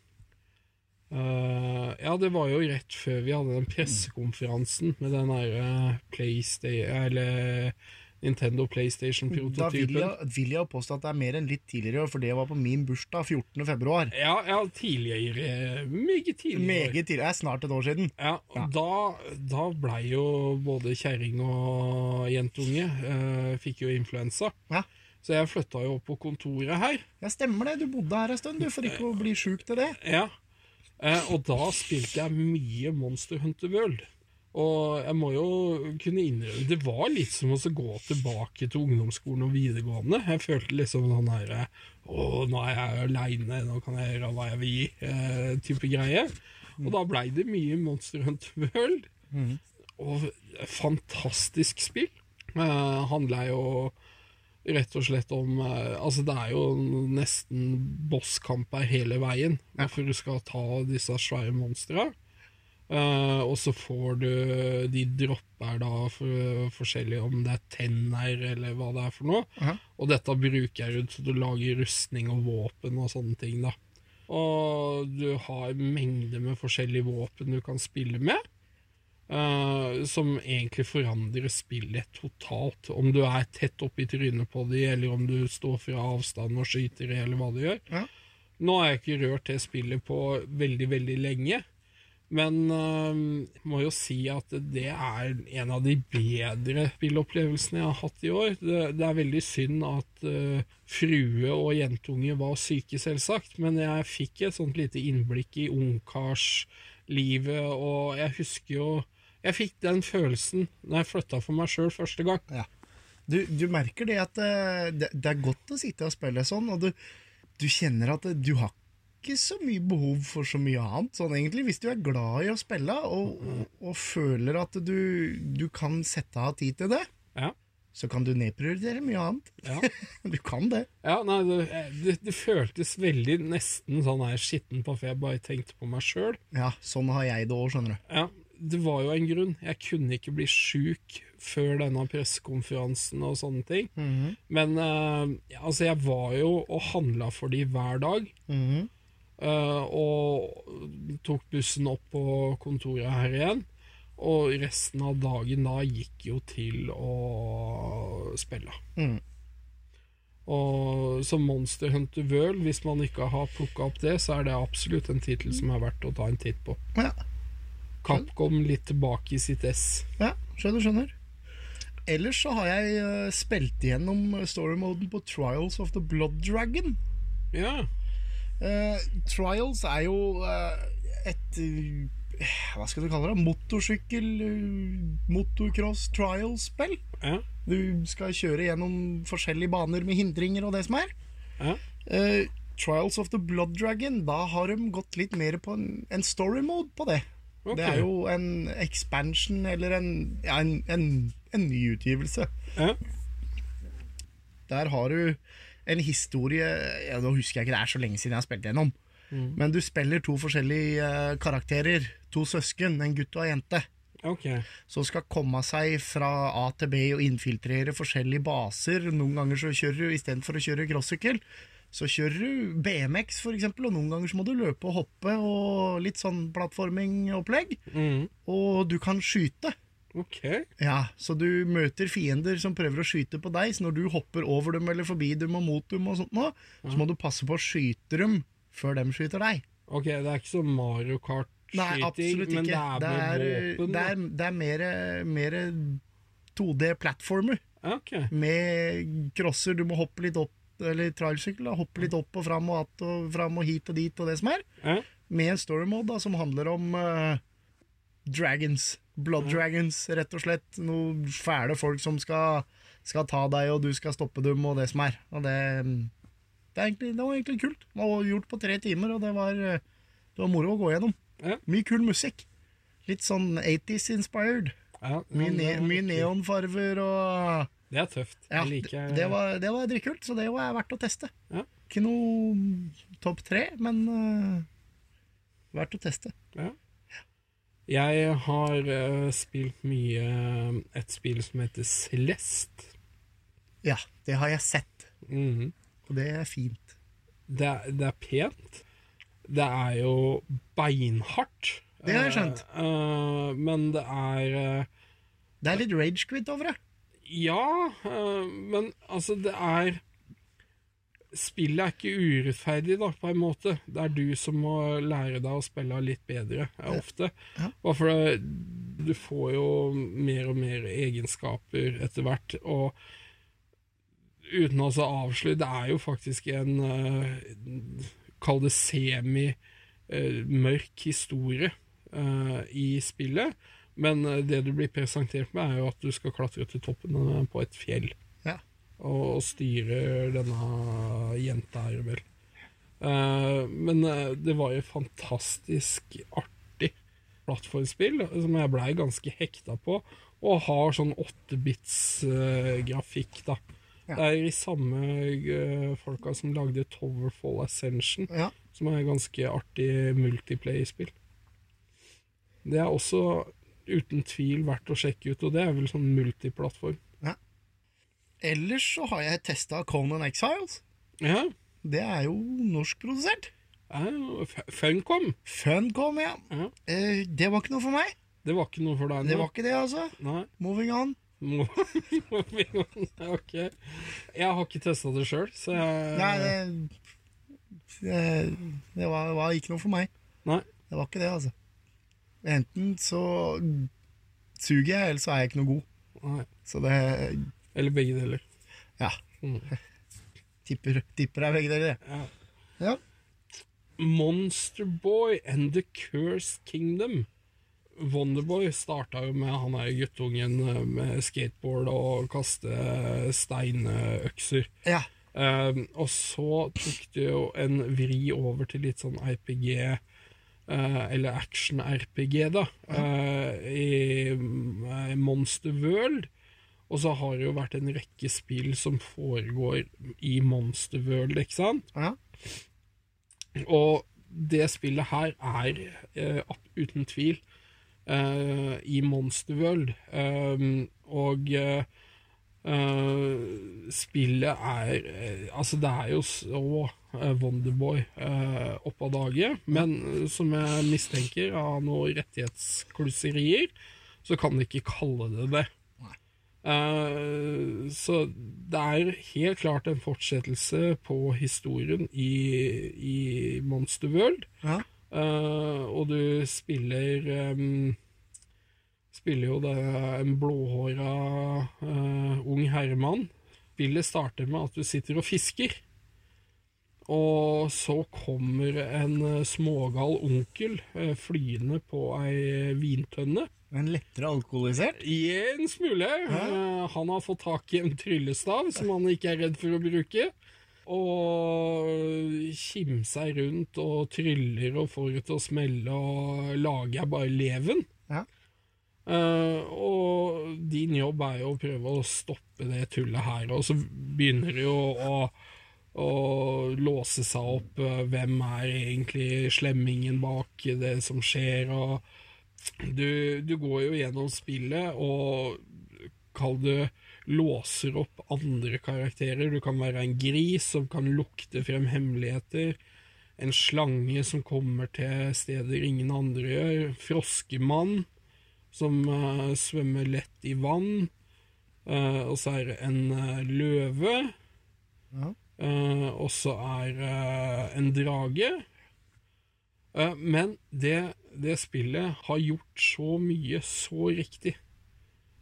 [SPEAKER 2] eh, Ja, det var jo rett før vi hadde den pressekonferansen med den derre PlayStation Eller Nintendo
[SPEAKER 1] Da vil
[SPEAKER 2] PlayStation-prototypen.
[SPEAKER 1] jeg, vil jeg påstå at det er mer enn litt tidligere i år, for det var på min bursdag 14. februar.
[SPEAKER 2] Ja, ja, tidligere. eh, Meget tidligere.
[SPEAKER 1] Meget tidlig. Det er snart et år siden.
[SPEAKER 2] Ja, og Da, da blei jo både kjerring og jentunge eh, fikk jo influensa.
[SPEAKER 1] Ja.
[SPEAKER 2] Så jeg flytta jo opp på kontoret her.
[SPEAKER 1] ja, stemmer det. Du bodde her en stund, du, for ikke å bli sjuk til det.
[SPEAKER 2] Ja. Eh, og da spilte jeg mye Monster Hunter World. Og jeg må jo kunne innrømme Det var litt som å så gå tilbake til ungdomsskolen og videregående. Jeg følte liksom sånn her Å, nå er jeg aleine, nå kan jeg gjøre hva jeg vil. Eh, type greie. Og da blei det mye Monster Hunter World. Og fantastisk spill. Eh, handla jo rett og slett om eh, Altså, det er jo nesten bosskamper hele veien. Hvorfor du skal ta disse svære monstra. Eh, og så får du De dropper da for, forskjellig om det er tenner eller hva det er for noe.
[SPEAKER 1] Ja.
[SPEAKER 2] Og dette bruker jeg ut så du lager rustning og våpen og sånne ting, da. Og du har mengder med forskjellige våpen du kan spille med. eh, som egentlig forandrer spillet totalt. Om du er tett oppi trynet på dem, eller om du står fra avstand og skyter, eller hva du gjør.
[SPEAKER 1] Ja.
[SPEAKER 2] Nå har jeg ikke rørt det spillet på veldig, veldig lenge. Men eh, må jo si at det er en av de bedre spillopplevelsene jeg har hatt i år. Det, det er veldig synd at eh, frue og jentunge var syke, selvsagt, men jeg fikk et sånt lite innblikk i ungkarslivet, og jeg husker jo Jeg fikk den følelsen da jeg flytta for meg sjøl første gang.
[SPEAKER 1] Du, du merker det at eh, det, det er godt å sitte og spille sånn, og du, du kjenner at eh, du har ikke så mye behov for så mye annet, sånn egentlig, hvis du er glad i å spille og, og, og føler at du, du kan sette av tid til det.
[SPEAKER 2] Ja.
[SPEAKER 1] så kan du nedprioritere mye annet.
[SPEAKER 2] Ja.
[SPEAKER 1] <laughs> Du kan det.
[SPEAKER 2] Ja, nei, det, eh, det, det føltes veldig nesten sånn her skitten på, for jeg bare tenkte på meg sjøl.
[SPEAKER 1] Ja, sånn har jeg det òg, skjønner du.
[SPEAKER 2] Ja, det var jo en grunn. Jeg kunne ikke bli sjuk før denne pressekonferansen og sånne ting.
[SPEAKER 1] Mhm,
[SPEAKER 2] Men eh, altså, jeg var jo og handla for de hver dag.
[SPEAKER 1] mhm,
[SPEAKER 2] eh, og tok bussen opp på kontoret her igjen. Og resten av dagen da gikk jo til å spille.
[SPEAKER 1] mhm.
[SPEAKER 2] Og som Monster Hunter World, hvis man ikke har plukka opp det, så er det absolutt en tittel som er verdt å ta en titt på.
[SPEAKER 1] Ja.
[SPEAKER 2] Capcom litt tilbake i sitt ess.
[SPEAKER 1] Ja, skjønner, skjønner. Ellers så har jeg eh, spilt igjennom storymoden på Trials of the Blood Dragon.
[SPEAKER 2] Ja.
[SPEAKER 1] Eh, Trials er jo eh, et eh, Hva skal du kalle det? Motorsykkel, eh, motocross, trials-spill.
[SPEAKER 2] ja.
[SPEAKER 1] Du skal kjøre gjennom forskjellige baner med hindringer og det som er.
[SPEAKER 2] Ja.
[SPEAKER 1] Eh, Trials of the Blood Dragon, da har de gått litt mer på en, en story mode på det.
[SPEAKER 2] Ok.
[SPEAKER 1] Det er jo en expansion eller en, ja, en, en, en ny utgivelse.
[SPEAKER 2] ja.
[SPEAKER 1] Der har du en historie ja, Nå husker jeg ikke, det er så lenge siden jeg har spilt gjennom. Men du spiller to forskjellige eh, karakterer. To søsken, en gutt og en jente.
[SPEAKER 2] Ok.
[SPEAKER 1] Som skal komme seg fra A til B og infiltrere forskjellige baser. Noen ganger så kjører du istedenfor å kjøre crosssykkel, så kjører du BMX for eksempel, og noen ganger så må du løpe og hoppe og litt sånn plattformingopplegg.
[SPEAKER 2] Mm.
[SPEAKER 1] Og du kan skyte.
[SPEAKER 2] Ok.
[SPEAKER 1] Ja, så du møter fiender som prøver å skyte på deg, så når du hopper over dem eller forbi dem og mot dem og sånt nå, så må du passe på å skyte dem før de skyter deg.
[SPEAKER 2] Ok, det er ikke sånn Mario
[SPEAKER 1] Nei,
[SPEAKER 2] Kart-skyting,
[SPEAKER 1] absolutt
[SPEAKER 2] men det
[SPEAKER 1] ikke.
[SPEAKER 2] er
[SPEAKER 1] Det
[SPEAKER 2] med
[SPEAKER 1] er, det
[SPEAKER 2] våpen. da.
[SPEAKER 1] er, det er mer, mer 2D-plattformer
[SPEAKER 2] Ok.
[SPEAKER 1] med crosser. Du må hoppe litt opp, eller trailsykkel, da, hoppe litt opp og fram og att og fram og hit og dit og det som er.
[SPEAKER 2] Ja.
[SPEAKER 1] Med en story mode da, som handler om eh, dragons. Blood dragons, rett og slett. Noen fæle folk som skal, skal ta deg, og du skal stoppe dem, og det som er. Og det, det, er egentlig, det var egentlig kult. Det var gjort på tre timer, og det var, eh, det var moro å gå gjennom.
[SPEAKER 2] Ja.
[SPEAKER 1] Mye kul musikk. Litt sånn 80s inspired.
[SPEAKER 2] Ja,
[SPEAKER 1] Mye,
[SPEAKER 2] men
[SPEAKER 1] ne
[SPEAKER 2] det er
[SPEAKER 1] mye
[SPEAKER 2] kult.
[SPEAKER 1] neonfarver og
[SPEAKER 2] Det er tøft.
[SPEAKER 1] ja,
[SPEAKER 2] jeg liker
[SPEAKER 1] det, det var, det var dritkult, så det var verdt å teste.
[SPEAKER 2] Ja.
[SPEAKER 1] Ikke noe topp tre, men eh, verdt å teste.
[SPEAKER 2] Ja. Jeg har eh, spilt mye eh, et spill som heter Celeste.
[SPEAKER 1] Ja, det har jeg sett,
[SPEAKER 2] Mhm.
[SPEAKER 1] og det er fint.
[SPEAKER 2] det, er- det er pent. Det er jo beinhardt.
[SPEAKER 1] Det har jeg skjønt.
[SPEAKER 2] Eh, eh, men det er eh,
[SPEAKER 1] Det er litt ragequit over det.
[SPEAKER 2] Ja, eh, men altså, det er Spillet er ikke urettferdig, da, på en måte. Det er du som må lære deg å spille litt bedre, eh, ofte.
[SPEAKER 1] Ja.
[SPEAKER 2] Bare for det, du får jo mer og mer egenskaper etter hvert, og uten å så avsløre Det er jo faktisk en eh, Kall det semi-mørk eh, historie eh, i spillet. Men eh, det du blir presentert med, er jo at du skal klatre til toppen eh, på et fjell.
[SPEAKER 1] Ja.
[SPEAKER 2] Og, og styre denne jenta her, vel. Eh, men eh, det var jo fantastisk artig plattformspill, som jeg blei ganske hekta på. Og har sånn 8-bits-grafikk, da.
[SPEAKER 1] Ja.
[SPEAKER 2] Det er de samme eh, folka som lagde Towerfall Ascension
[SPEAKER 1] Ja.
[SPEAKER 2] som er ganske artig multiplayer-spill. Det er også uten tvil verdt å sjekke ut, og det er vel sånn multiplattform.
[SPEAKER 1] Ellers så har jeg testa Conan Exiles.
[SPEAKER 2] Ja,
[SPEAKER 1] Det er jo norskprodusert.
[SPEAKER 2] ja, F- Funcom.
[SPEAKER 1] Funcom, ja.
[SPEAKER 2] Ja.
[SPEAKER 1] Eh, det var ikke noe for meg.
[SPEAKER 2] Det var ikke noe for deg
[SPEAKER 1] Det
[SPEAKER 2] nå?
[SPEAKER 1] var ikke det, altså.
[SPEAKER 2] Nei.
[SPEAKER 1] Moving on.
[SPEAKER 2] Må- <laughs> må vi gå ned? ok. Jeg har ikke testa det sjøl, så jeg
[SPEAKER 1] Nei, det, det, det var, var ikke noe for meg.
[SPEAKER 2] Nei.
[SPEAKER 1] Det var ikke det, altså. Enten så suger jeg, eller så er jeg ikke noe god.
[SPEAKER 2] Nei.
[SPEAKER 1] Så det
[SPEAKER 2] Eller begge deler.
[SPEAKER 1] ja.
[SPEAKER 2] Mm.
[SPEAKER 1] <laughs> Tipper, tipper jeg begge deler, jeg.
[SPEAKER 2] Ja.
[SPEAKER 1] Ja.
[SPEAKER 2] Monsterboy and The Cursed Kingdom. Wonderboy starta jo med han er jo guttungen eh, med skateboard og kaste eh, steinøkser.
[SPEAKER 1] Ja.
[SPEAKER 2] Um, og så tok det jo en vri over til litt sånn RPG, eh, eller action-RPG, da, eh, i mm, eh, Monster World. Og så har det jo vært en rekke spill som foregår i Monster World, ikke sant?
[SPEAKER 1] ja.
[SPEAKER 2] Og det spillet her er eh, ab- uten tvil eh, i Monster World. Eh, og eh, eh, spillet er eh, Altså, det er jo så eh, Wonderboy eh, opp av dage, men eh, som jeg mistenker av noen rettighetsklusserier, så kan de ikke kalle det det. Eh, så det er helt klart en fortsettelse på historien i, i Monster World.
[SPEAKER 1] Ja.
[SPEAKER 2] Eh, og du spiller em, Spiller jo det en blåhåra eh, ung herremann. Spillet starter med at du sitter og fisker. Og så kommer en eh, smågal onkel eh, flyende på ei vintønne.
[SPEAKER 1] Men lettere alkoholisert?
[SPEAKER 2] I en smule. Eh, han har fått tak i en tryllestav som han ikke er redd for å bruke. Og kimser rundt og tryller og får det til å smelle og lager bare leven.
[SPEAKER 1] Ja.
[SPEAKER 2] Eh, og din jobb er jo å prøve å stoppe det tullet her, og så begynner det jo å, å låse seg opp. eh, Hvem er egentlig slemmingen bak det som skjer? og du, du går jo gjennom spillet og kall det låser opp andre karakterer. Du kan være en gris som kan lukte frem hemmeligheter. En slange som kommer til steder ingen andre gjør. Froskemann som eh, svømmer lett i vann. Eh, og så er det en eh, løve.
[SPEAKER 1] Ja.
[SPEAKER 2] Eh, og så er eh, en drage. Eh, men det, det spillet har gjort så mye så riktig.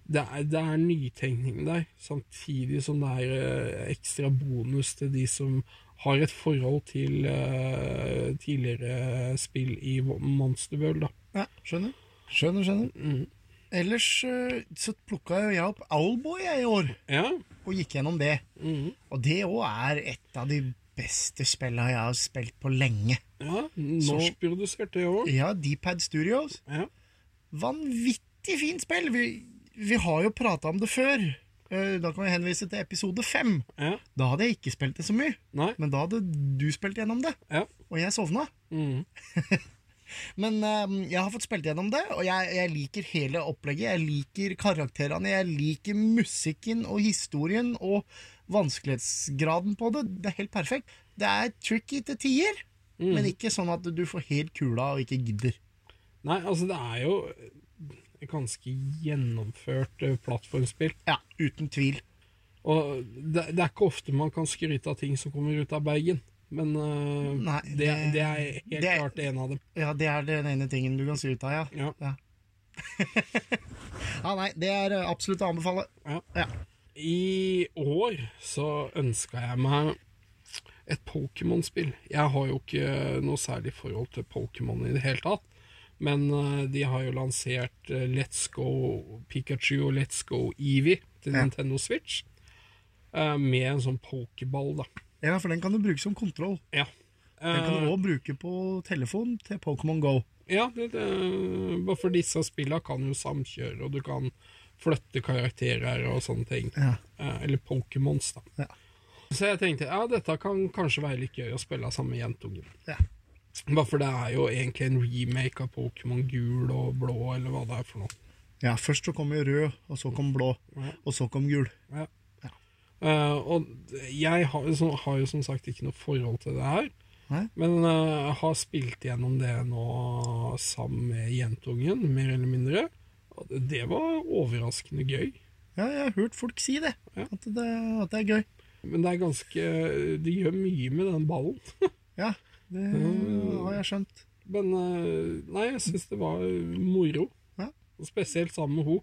[SPEAKER 2] Det er, det er nytenkning der, samtidig som det er eh, ekstra bonus til de som har et forhold til eh, tidligere spill i Monster World. Da.
[SPEAKER 1] Ja, skjønner. Skjønner, skjønner. Mm. Ellers eh, så plukka jo jeg opp Owlboy jeg i år,
[SPEAKER 2] Ja.
[SPEAKER 1] og gikk gjennom det.
[SPEAKER 2] mhm.
[SPEAKER 1] Og det òg er et av de beste spilla jeg har spilt på lenge.
[SPEAKER 2] ja Norskprodusert, det òg.
[SPEAKER 1] Ja, Dpad Studios.
[SPEAKER 2] Ja.
[SPEAKER 1] Vanvittig fint spill! Vi, vi har jo prata om det før. Eh, Da kan vi henvise til episode fem.
[SPEAKER 2] ja.
[SPEAKER 1] Da hadde jeg ikke spilt det så mye,
[SPEAKER 2] Nei.
[SPEAKER 1] men da hadde du spilt gjennom det,
[SPEAKER 2] Ja.
[SPEAKER 1] og jeg sovna.
[SPEAKER 2] mhm.
[SPEAKER 1] <laughs> Men eh, jeg har fått spilt gjennom det, og jeg, jeg liker hele opplegget. Jeg liker karakterene, jeg liker musikken og historien og vanskelighetsgraden på det. Det er helt perfekt. Det er tricky til tider, men ikke sånn at du får helt kula og ikke gidder.
[SPEAKER 2] Nei, altså, det er jo et ganske gjennomført eh, plattformspill.
[SPEAKER 1] Ja, uten tvil.
[SPEAKER 2] Og det, det er ikke ofte man kan skryte av ting som kommer ut av Bergen. Men eh,
[SPEAKER 1] Nei,
[SPEAKER 2] det,
[SPEAKER 1] det-
[SPEAKER 2] det er helt
[SPEAKER 1] det-
[SPEAKER 2] klart en av dem.
[SPEAKER 1] Ja, det er den ene tingen du kan si ut av, ja.
[SPEAKER 2] Ja.
[SPEAKER 1] Ja, ja nei, det er eh, absolutt å anbefale.
[SPEAKER 2] Ja.
[SPEAKER 1] Ja.
[SPEAKER 2] I år så ønska jeg meg et Pokémon-spill. Jeg har jo ikke noe særlig forhold til Pokémon i det hele tatt. Men eh, de har jo lansert eh, Let's Go Pikachu og Let's Go Eevee til
[SPEAKER 1] Ja.
[SPEAKER 2] Nintendo Switch. eh, Med en sånn pokéball, da.
[SPEAKER 1] Ja, for den kan du bruke som kontroll.
[SPEAKER 2] Ja.
[SPEAKER 1] Den kan
[SPEAKER 2] Eh,
[SPEAKER 1] du òg bruke på telefon til Pokémon Go.
[SPEAKER 2] Ja, det, det, bare for disse spillene kan jo samkjøre, og du kan flytte karakterer og sånne ting.
[SPEAKER 1] Ja.
[SPEAKER 2] Eh, Eller Pokémons, da.
[SPEAKER 1] Ja.
[SPEAKER 2] Så jeg tenkte ja, dette kan kanskje være litt gøy å spille sammen med jentungen.
[SPEAKER 1] Ja.
[SPEAKER 2] Bare for det er jo egentlig en remake av Pokémon gul og blå, eller hva det er for noe.
[SPEAKER 1] Ja, først så kom jo rød, og så kom blå,
[SPEAKER 2] Ja.
[SPEAKER 1] og så kom gul.
[SPEAKER 2] Ja.
[SPEAKER 1] Ja.
[SPEAKER 2] Eh, og jeg har, jo som- har jo som sagt ikke noe forhold til det her,
[SPEAKER 1] Nei?
[SPEAKER 2] men eh, har spilt gjennom det nå sammen med jentungen, mer eller mindre. Og det- det var overraskende gøy.
[SPEAKER 1] Ja, jeg har hørt folk si det.
[SPEAKER 2] Ja.
[SPEAKER 1] At, det at det er gøy.
[SPEAKER 2] Men det er ganske De gjør mye med den ballen.
[SPEAKER 1] Ja, det har jeg skjønt.
[SPEAKER 2] Men eh, nei, jeg syns det var moro.
[SPEAKER 1] Ja.
[SPEAKER 2] Og Spesielt sammen med hun.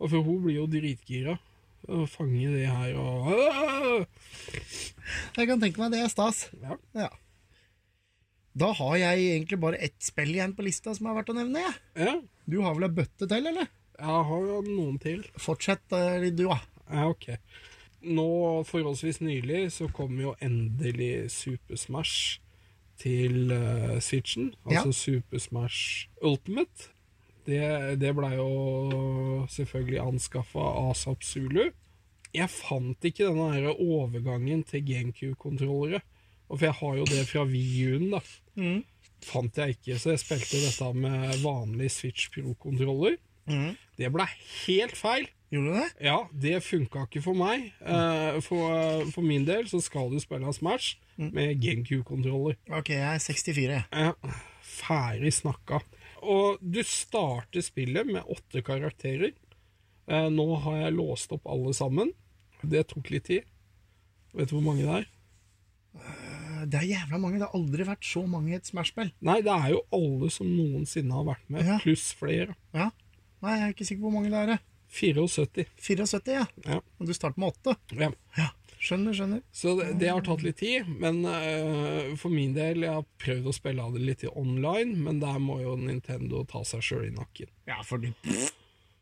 [SPEAKER 2] Og for hun blir jo dritgira. Å fange det her og Åh!
[SPEAKER 1] Jeg kan tenke meg det er stas.
[SPEAKER 2] ja.
[SPEAKER 1] Ja. Da har jeg egentlig bare ett spill igjen på lista som er verdt å nevne. jeg.
[SPEAKER 2] ja.
[SPEAKER 1] Du har vel ei bøtte til, eller?
[SPEAKER 2] Jeg har jo noen til.
[SPEAKER 1] Fortsett eh, du, da.
[SPEAKER 2] Ja, ok. Nå forholdsvis nylig så kom jo endelig Super Smash til eh, Switchen.
[SPEAKER 1] Ja.
[SPEAKER 2] Altså Super Smash Ultimate. Det, det blei jo selvfølgelig anskaffa ASAP Zulu. Jeg fant ikke denne her overgangen til GenQ-kontrollere. For jeg har jo det fra Wii-en, da. fant jeg ikke, så jeg spilte dette med vanlig Switch Pro-kontroller.
[SPEAKER 1] Mhm.
[SPEAKER 2] Det ble helt feil.
[SPEAKER 1] Gjorde du det?
[SPEAKER 2] Ja, det funka ikke for meg. Eh, for, for min del så skal du spille Smash med GenQ-kontroller.
[SPEAKER 1] Ok, jeg er 64. jeg.
[SPEAKER 2] Ja, ferdig snakka. Og du starter spillet med åtte karakterer. Eh, nå har jeg låst opp alle sammen. Det tok litt tid. Vet du hvor mange det er?
[SPEAKER 1] Det er jævla mange. Det har aldri vært så mange i et Smash-spill.
[SPEAKER 2] Nei, det er jo alle som noensinne har vært med,
[SPEAKER 1] Ja.
[SPEAKER 2] pluss flere.
[SPEAKER 1] Ja. Nei, jeg er ikke sikker på hvor mange det er. jeg.
[SPEAKER 2] 74.
[SPEAKER 1] 74, ja.
[SPEAKER 2] Ja.
[SPEAKER 1] Og du starter med 8.
[SPEAKER 2] ja.
[SPEAKER 1] Ja. Skjønner, skjønner.
[SPEAKER 2] Så det, det har tatt litt tid, men eh, for min del Jeg har prøvd å spille av det litt i online, men der må jo Nintendo ta seg sjøl i nakken.
[SPEAKER 1] Ja, fordi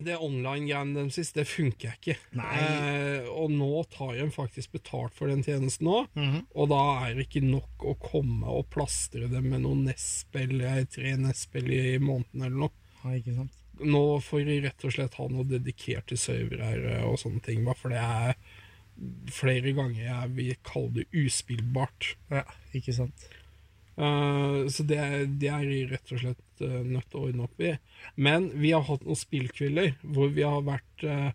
[SPEAKER 2] Det online-greiene deres sist, det funker ikke.
[SPEAKER 1] Nei.
[SPEAKER 2] Eh, og nå tar de faktisk betalt for den tjenesten òg, og da er det ikke nok å komme og plastre det med noen NES-spill, eh, tre NES-spill i måneden eller noe.
[SPEAKER 1] Ja, ikke sant.
[SPEAKER 2] Nå får de rett og slett ha noe dedikert til servere eh, og sånne ting, bare for det er flere ganger jeg vil kalle det uspillbart.
[SPEAKER 1] Ja, ikke sant.
[SPEAKER 2] Eh, Så det, det er vi rett og slett eh, nødt til å ordne opp i. Men vi har hatt noen spillkvelder hvor vi har vært eh,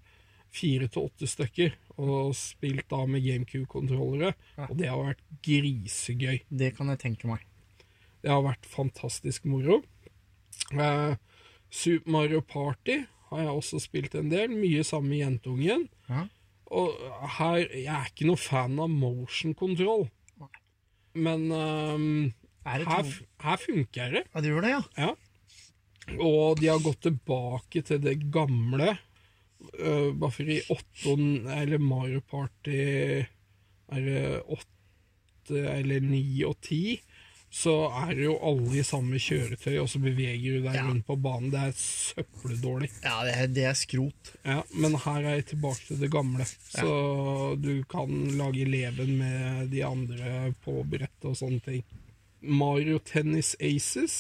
[SPEAKER 2] fire til åtte stykker og spilt da med GameCube-kontrollere,
[SPEAKER 1] Ja.
[SPEAKER 2] og det har vært grisegøy.
[SPEAKER 1] Det kan jeg tenke meg.
[SPEAKER 2] Det har vært fantastisk moro. Eh, Super Mario Party har jeg også spilt en del, mye sammen med jentungen.
[SPEAKER 1] Ja.
[SPEAKER 2] Og her, jeg er ikke noe fan av motion control,
[SPEAKER 1] Nei.
[SPEAKER 2] men ehm,
[SPEAKER 1] Er det
[SPEAKER 2] her,
[SPEAKER 1] to-
[SPEAKER 2] f- her funker det.
[SPEAKER 1] Ja, du gjør det, ja?
[SPEAKER 2] Ja. Og de har gått tilbake til det gamle. Uh, bare for i 8, eller Mario Party Er det 8 eller 9 og 10 så er det jo alle i samme kjøretøy, og så beveger du deg
[SPEAKER 1] Ja.
[SPEAKER 2] rundt på banen. Det er søppeldårlig.
[SPEAKER 1] Ja, det er, det er skrot.
[SPEAKER 2] Ja, men her er jeg tilbake til det gamle, så du kan lage leven med de andre på brettet og sånne ting. Mario Tennis Aces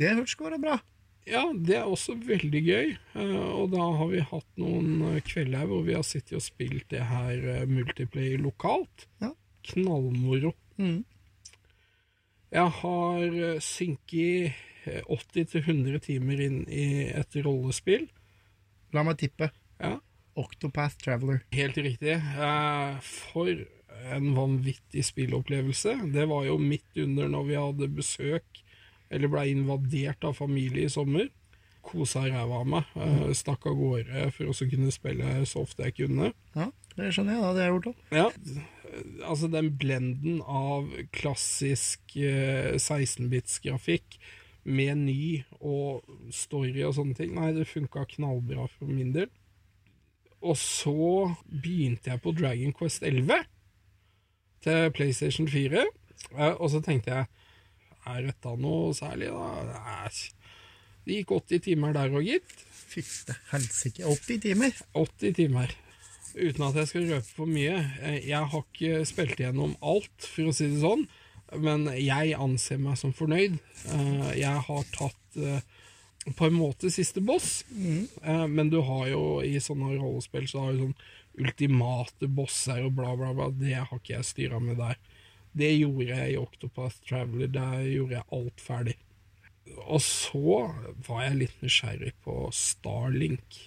[SPEAKER 1] Det hørtes ikke være bra.
[SPEAKER 2] ja, det er også veldig gøy. eh, Og da har vi hatt noen eh, kvelder her hvor vi har sittet og spilt det her eh, multiplayer lokalt.
[SPEAKER 1] Ja.
[SPEAKER 2] Knallmoro.
[SPEAKER 1] Mm.
[SPEAKER 2] Jeg har eh, synket eh, 80-100 timer inn i et rollespill.
[SPEAKER 1] La meg tippe.
[SPEAKER 2] Ja,
[SPEAKER 1] Octopath Traveler.
[SPEAKER 2] helt riktig. Eh, For en vanvittig spillopplevelse. Det var jo midt under når vi hadde besøk, eller ble invadert av familie i sommer. Kosa ræva av meg. eh, Stakk av gårde for å kunne spille så ofte jeg kunne.
[SPEAKER 1] Ja, det skjønner jeg. Det hadde jeg gjort òg.
[SPEAKER 2] Ja, altså den blenden av klassisk eh, 16-bits-grafikk med ny og story og sånne ting, nei, det funka knallbra for min del. Og så begynte jeg på Dragon Quest 11 til PlayStation 4, eh, og så tenkte jeg er dette noe særlig, da? Nei. Det gikk 80 timer der òg, gitt.
[SPEAKER 1] Fytte helsike. 80 timer.
[SPEAKER 2] 80 timer. Uten at jeg skal røpe for mye. eh, Jeg har ikke spilt igjennom alt, for å si det sånn. Men jeg anser meg som fornøyd. Eh, Jeg har tatt eh, på en måte siste boss, Eh, men du har jo i sånne rollespill så har du sånn ultimate bosser og bla, bla, bla. Det har ikke jeg styra med der. Det gjorde jeg i Octopath Traveler. Der gjorde jeg alt ferdig. Og så var jeg litt nysgjerrig på Starlink.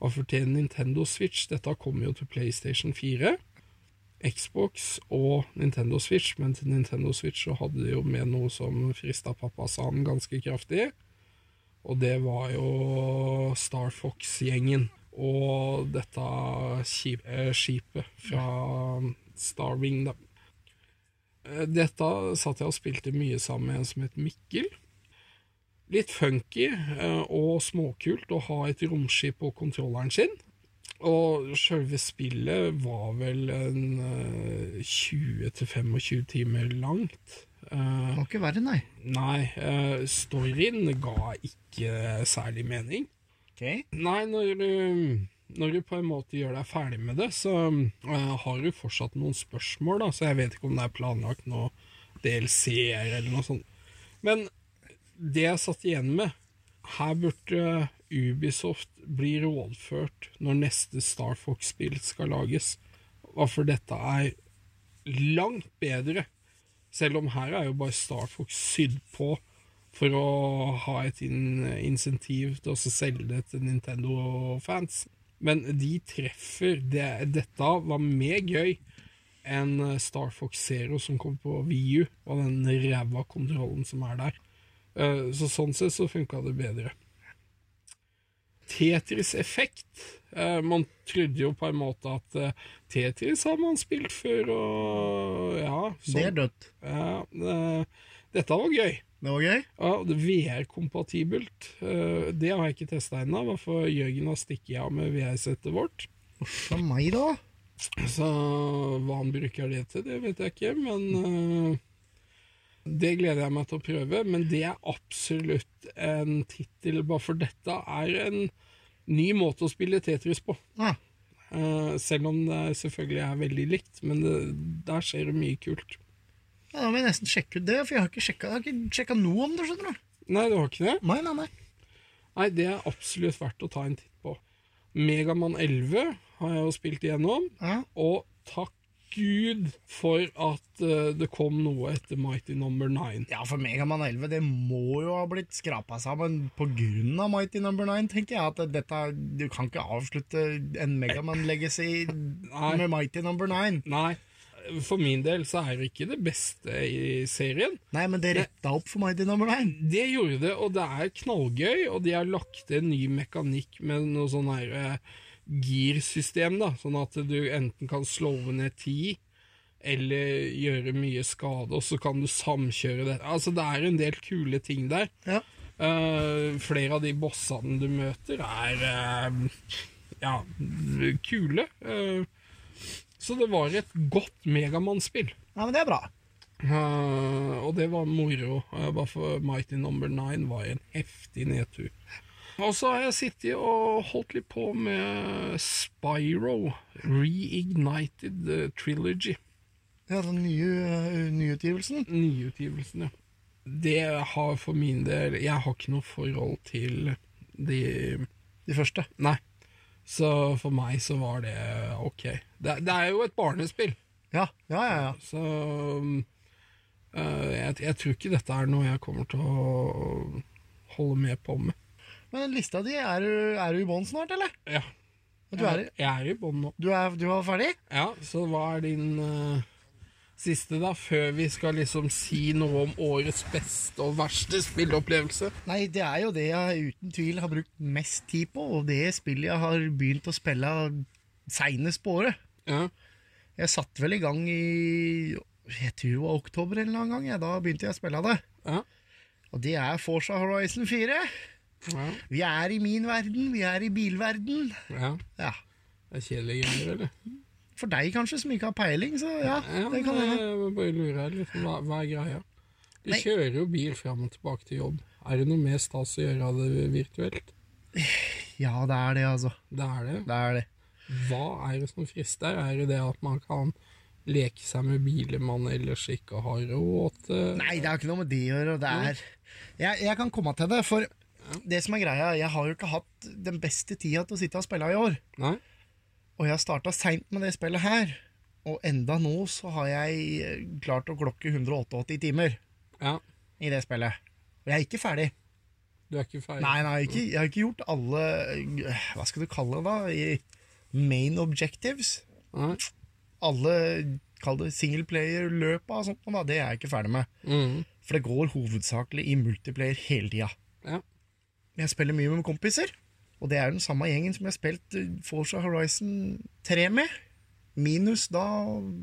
[SPEAKER 2] Hvorfor til Nintendo Switch? Dette kommer jo til PlayStation 4, Xbox og Nintendo Switch, men til Nintendo Switch så hadde de jo med noe som frista pappas and ganske kraftig. Og det var jo Star Fox-gjengen og dette skip, eh, skipet fra Starwing, da. Eh, Dette satt jeg og spilte mye sammen med en som het Mikkel litt funky eh, og småkult å ha et romskip på kontrolleren sin. Og selve spillet var vel en eh, 20-25 timer langt. Eh,
[SPEAKER 1] Det var ikke verre, nei.
[SPEAKER 2] Nei, eh, storyen ga ikke særlig mening.
[SPEAKER 1] Ok.
[SPEAKER 2] Nei, når du, når du på en måte gjør deg ferdig med det, så eh, har du fortsatt noen spørsmål, da, så jeg vet ikke om det er planlagt noe DLC-er eller noe sånt. Men det jeg satt igjen med Her burde Ubisoft bli rådført når neste Star Fox-spill skal lages. Hvorfor dette er langt bedre. Selv om her er jo bare Star Fox sydd på for å ha et in insentiv til å så selge det til Nintendo-fans. Men de treffer det, Dette var mer gøy enn Star Fox Zero som kom på Wii U, og den ræva kontrollen som er der. Eh, Så sånn sett så funka det bedre. Tetris effekt. Eh, Man trodde jo på en måte at eh, Tetris har man spilt før, og ja
[SPEAKER 1] Det
[SPEAKER 2] sånn.
[SPEAKER 1] er dødt.
[SPEAKER 2] Ja, eh, dette var gøy.
[SPEAKER 1] Det var gøy.
[SPEAKER 2] Ja, og det VR-kompatibelt. eh, Det har jeg ikke testa ennå, hvorfor Jørgen har stikket av med VR-settet vårt.
[SPEAKER 1] For meg, da?
[SPEAKER 2] Så hva han bruker det til, det vet jeg ikke, men eh, det gleder jeg meg til å prøve. Men det er absolutt en tittel, bare for dette er en ny måte å spille Tetris på.
[SPEAKER 1] Ja.
[SPEAKER 2] Eh, Selv om det selvfølgelig er veldig likt, men det, der skjer det mye kult.
[SPEAKER 1] ja, da må jeg nesten sjekke ut det, for jeg har ikke sjekka, jeg har ikke sjekka noe om det. skjønner du?
[SPEAKER 2] Nei, det var ikke det?
[SPEAKER 1] Nei, nei, nei.
[SPEAKER 2] Nei, det er absolutt verdt å ta en titt på. Megaman 11 har jeg jo spilt igjennom,
[SPEAKER 1] Ja.
[SPEAKER 2] og takk Gud for at eh, det kom noe etter Mighty Number 9.
[SPEAKER 1] Ja, for Megaman 11 det må jo ha blitt skrapa sammen pga. Mighty Number 9, tenker jeg. At dette, du kan ikke avslutte en Megaman Legacy med Mighty Number 9.
[SPEAKER 2] Nei, for min del så er det ikke det beste i serien.
[SPEAKER 1] Nei, men det retta opp for Mighty Number 9.
[SPEAKER 2] Det gjorde det, og det er knallgøy, og de har lagt til en ny mekanikk med noe sånn her eh, girsystem, da, sånn at du enten kan slå ned ti, eller gjøre mye skade, og så kan du samkjøre det. Altså, det er en del kule ting der.
[SPEAKER 1] Ja.
[SPEAKER 2] Eh, flere av de bossene du møter, er eh, ja, kule. Eh, så det var et godt Megamann-spill.
[SPEAKER 1] Nei, men det er bra.
[SPEAKER 2] Eh, og det var moro. eh, bare for Mighty Number 9 var en heftig nedtur. Og så har jeg sittet og holdt litt på med Spyro Reignited eh, Trilogy.
[SPEAKER 1] Det er den nye øh, nyutgivelsen.
[SPEAKER 2] Nyutgivelsen, ja. Det har for min del Jeg har ikke noe forhold til de
[SPEAKER 1] De første.
[SPEAKER 2] Nei. Så for meg så var det ok. Det, det er jo et barnespill.
[SPEAKER 1] Ja, ja, ja. ja.
[SPEAKER 2] Så um, eh, jeg, jeg tror ikke dette er noe jeg kommer til å holde med på med.
[SPEAKER 1] Men lista di, er du, er du i bånn snart, eller?
[SPEAKER 2] Ja,
[SPEAKER 1] Du er, i-
[SPEAKER 2] jeg er i bånn nå.
[SPEAKER 1] du er, du er ferdig?
[SPEAKER 2] Ja, så hva er din eh, siste, da? Før vi skal liksom si noe om årets beste og verste spilleopplevelse.
[SPEAKER 1] Nei, det er jo det jeg uten tvil har brukt mest tid på, og det spillet jeg har begynt å spille seinest på året.
[SPEAKER 2] Ja.
[SPEAKER 1] Jeg satt vel i gang i jeg tror det var oktober en eller annen gang, ja, da begynte jeg å spille det.
[SPEAKER 2] Ja.
[SPEAKER 1] Og det er Forsa Horizon 4.
[SPEAKER 2] Ja.
[SPEAKER 1] Vi er i min verden, vi er i bilverden.
[SPEAKER 2] ja.
[SPEAKER 1] Ja,
[SPEAKER 2] Det er kjedelige greier, eller?
[SPEAKER 1] For deg kanskje, som ikke har peiling, så ja, det kan
[SPEAKER 2] men
[SPEAKER 1] hende.
[SPEAKER 2] jeg må bare lurer litt. Hva, hva er greia? Du
[SPEAKER 1] Nei.
[SPEAKER 2] kjører jo bil fram og tilbake til jobb. Er det noe mer stas å gjøre av det virtuelt?
[SPEAKER 1] Ja, det er det, altså.
[SPEAKER 2] Det er det.
[SPEAKER 1] Det er det.
[SPEAKER 2] Hva er det som frister? Er det det at man kan leke seg med biler man ellers ikke har råd til?
[SPEAKER 1] Nei, det har ikke noe med det å gjøre. Det er jeg, jeg kan komme til det, for det som er greia, jeg har jo ikke hatt den beste tida til å sitte og spille i år.
[SPEAKER 2] Nei?
[SPEAKER 1] Og jeg starta seint med det spillet her. Og enda nå så har jeg eh, klart å klokke 188 timer
[SPEAKER 2] Ja,
[SPEAKER 1] i det spillet. Og jeg er ikke ferdig.
[SPEAKER 2] du er ikke ferdig?
[SPEAKER 1] Nei, nei, ikke, jeg har ikke gjort alle eh, Hva skal du kalle det, da? I main objectives.
[SPEAKER 2] Nei?
[SPEAKER 1] Alle kall det singleplayer-løpa og sånt. noe Da, det er jeg ikke ferdig med.
[SPEAKER 2] Mhm.
[SPEAKER 1] For det går hovedsakelig i multiplayer hele tida.
[SPEAKER 2] Ja.
[SPEAKER 1] Jeg spiller mye med kompiser, og det er den samme gjengen som jeg har spilt eh, Forza Horizon 3 med. Minus da,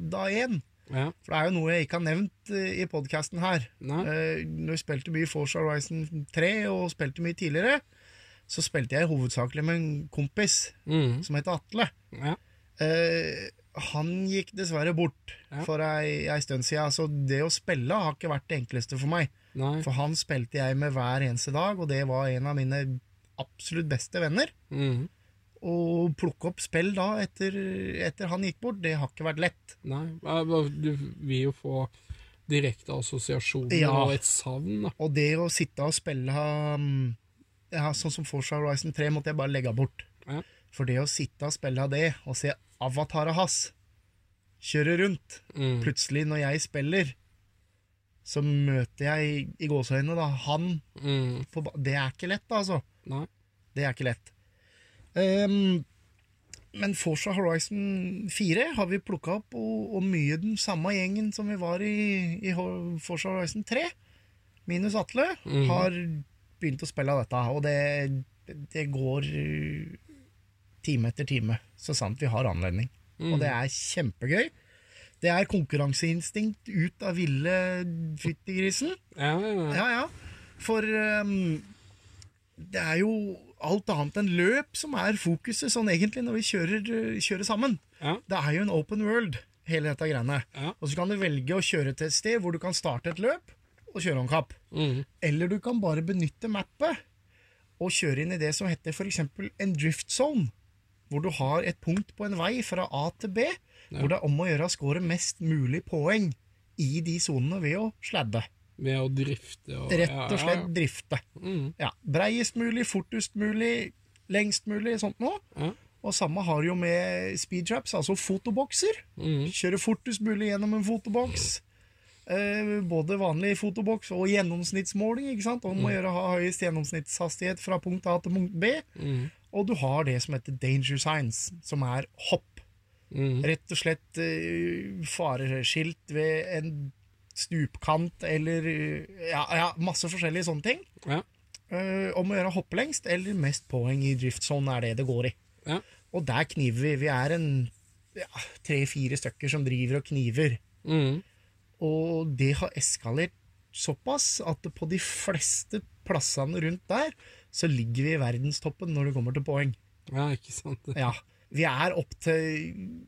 [SPEAKER 1] da 1.
[SPEAKER 2] ja.
[SPEAKER 1] For det er jo noe jeg ikke har nevnt eh, i podkasten her.
[SPEAKER 2] Nei?
[SPEAKER 1] Eh, Når jeg spilte mye Forza Horizon 3, og spilte mye tidligere, så spilte jeg hovedsakelig med en kompis
[SPEAKER 2] Mhm.
[SPEAKER 1] som heter Atle.
[SPEAKER 2] Ja.
[SPEAKER 1] Eh, han gikk dessverre bort
[SPEAKER 2] Ja.
[SPEAKER 1] for ei, ei stund siden, så det å spille har ikke vært det enkleste for meg.
[SPEAKER 2] Nei.
[SPEAKER 1] For han spilte jeg med hver eneste dag, og det var en av mine absolutt beste venner.
[SPEAKER 2] Mhm.
[SPEAKER 1] Å plukke opp spill da etter, etter han gikk bort, det har ikke vært lett.
[SPEAKER 2] Nei. Ja, bare- Du vil jo få direkte assosiasjoner
[SPEAKER 1] Ja.
[SPEAKER 2] og et savn, da.
[SPEAKER 1] Og det å sitte og spille um, ja, Sånn som Forza Horizon 3 måtte jeg bare legge bort.
[SPEAKER 2] Ja.
[SPEAKER 1] For det å sitte og spille det, og se avataret hans kjøre rundt
[SPEAKER 2] Mhm.
[SPEAKER 1] Plutselig, når jeg spiller, så møter jeg i gåseøynene da, han
[SPEAKER 2] Mm.
[SPEAKER 1] på ba- Det er ikke lett, da, altså.
[SPEAKER 2] Nei.
[SPEAKER 1] Det er ikke lett. Ehm, men Forsa Horizon 4 har vi plukka opp, og, og mye den samme gjengen som vi var i, i Ho- Forsa Horizon 3, minus Atle,
[SPEAKER 2] Mhm.
[SPEAKER 1] har begynt å spille dette. Og det, det går uh, time etter time, så sant vi har anledning. Og det er kjempegøy. Det er konkurranseinstinkt ut av ville fyttegrisen.
[SPEAKER 2] Ja, ja, ja.
[SPEAKER 1] Ja, ja. For ehm, det er jo alt annet enn løp som er fokuset, sånn egentlig, når vi kjører, eh, kjører sammen.
[SPEAKER 2] ja.
[SPEAKER 1] Det er jo en open world, hele dette greiene.
[SPEAKER 2] ja.
[SPEAKER 1] Og så kan du velge å kjøre til et sted hvor du kan starte et løp og kjøre om kapp.
[SPEAKER 2] Mm.
[SPEAKER 1] Eller du kan bare benytte mappet og kjøre inn i det som heter for eksempel en drift zone, hvor du har et punkt på en vei fra A til B, hvor det er om å gjøre å score mest mulig poeng i de sonene ved å sladde.
[SPEAKER 2] Ved å drifte og
[SPEAKER 1] Rett og slett drifte.
[SPEAKER 2] Ja, ja. Mm.
[SPEAKER 1] Ja, Breiest mulig, fortest mulig, lengst mulig, sånt noe.
[SPEAKER 2] Ja.
[SPEAKER 1] Og samme har jo med speed traps, altså fotobokser.
[SPEAKER 2] Mm.
[SPEAKER 1] Kjøre fortest mulig gjennom en fotoboks. Eh, både vanlig fotoboks og gjennomsnittsmåling. ikke sant? Om å gjøre å ha høyest gjennomsnittshastighet fra punkt A til punkt B.
[SPEAKER 2] Mm.
[SPEAKER 1] Og du har det som heter danger signs, som er hopp.
[SPEAKER 2] Mm.
[SPEAKER 1] Rett og slett eh, fareskilt ved en stupkant eller eh, ja, ja, masse forskjellige sånne ting.
[SPEAKER 2] ja.
[SPEAKER 1] Eh, om å gjøre hopp lengst eller mest poeng i drift zone er det det går i.
[SPEAKER 2] Ja.
[SPEAKER 1] Og der kniver vi. Vi er en ja, tre-fire stykker som driver og kniver.
[SPEAKER 2] Mm.
[SPEAKER 1] Og det har eskalert såpass at på de fleste plassene rundt der så ligger vi i verdenstoppen når det kommer til poeng.
[SPEAKER 2] ja, ikke sant. Det.
[SPEAKER 1] Ja, vi er opp til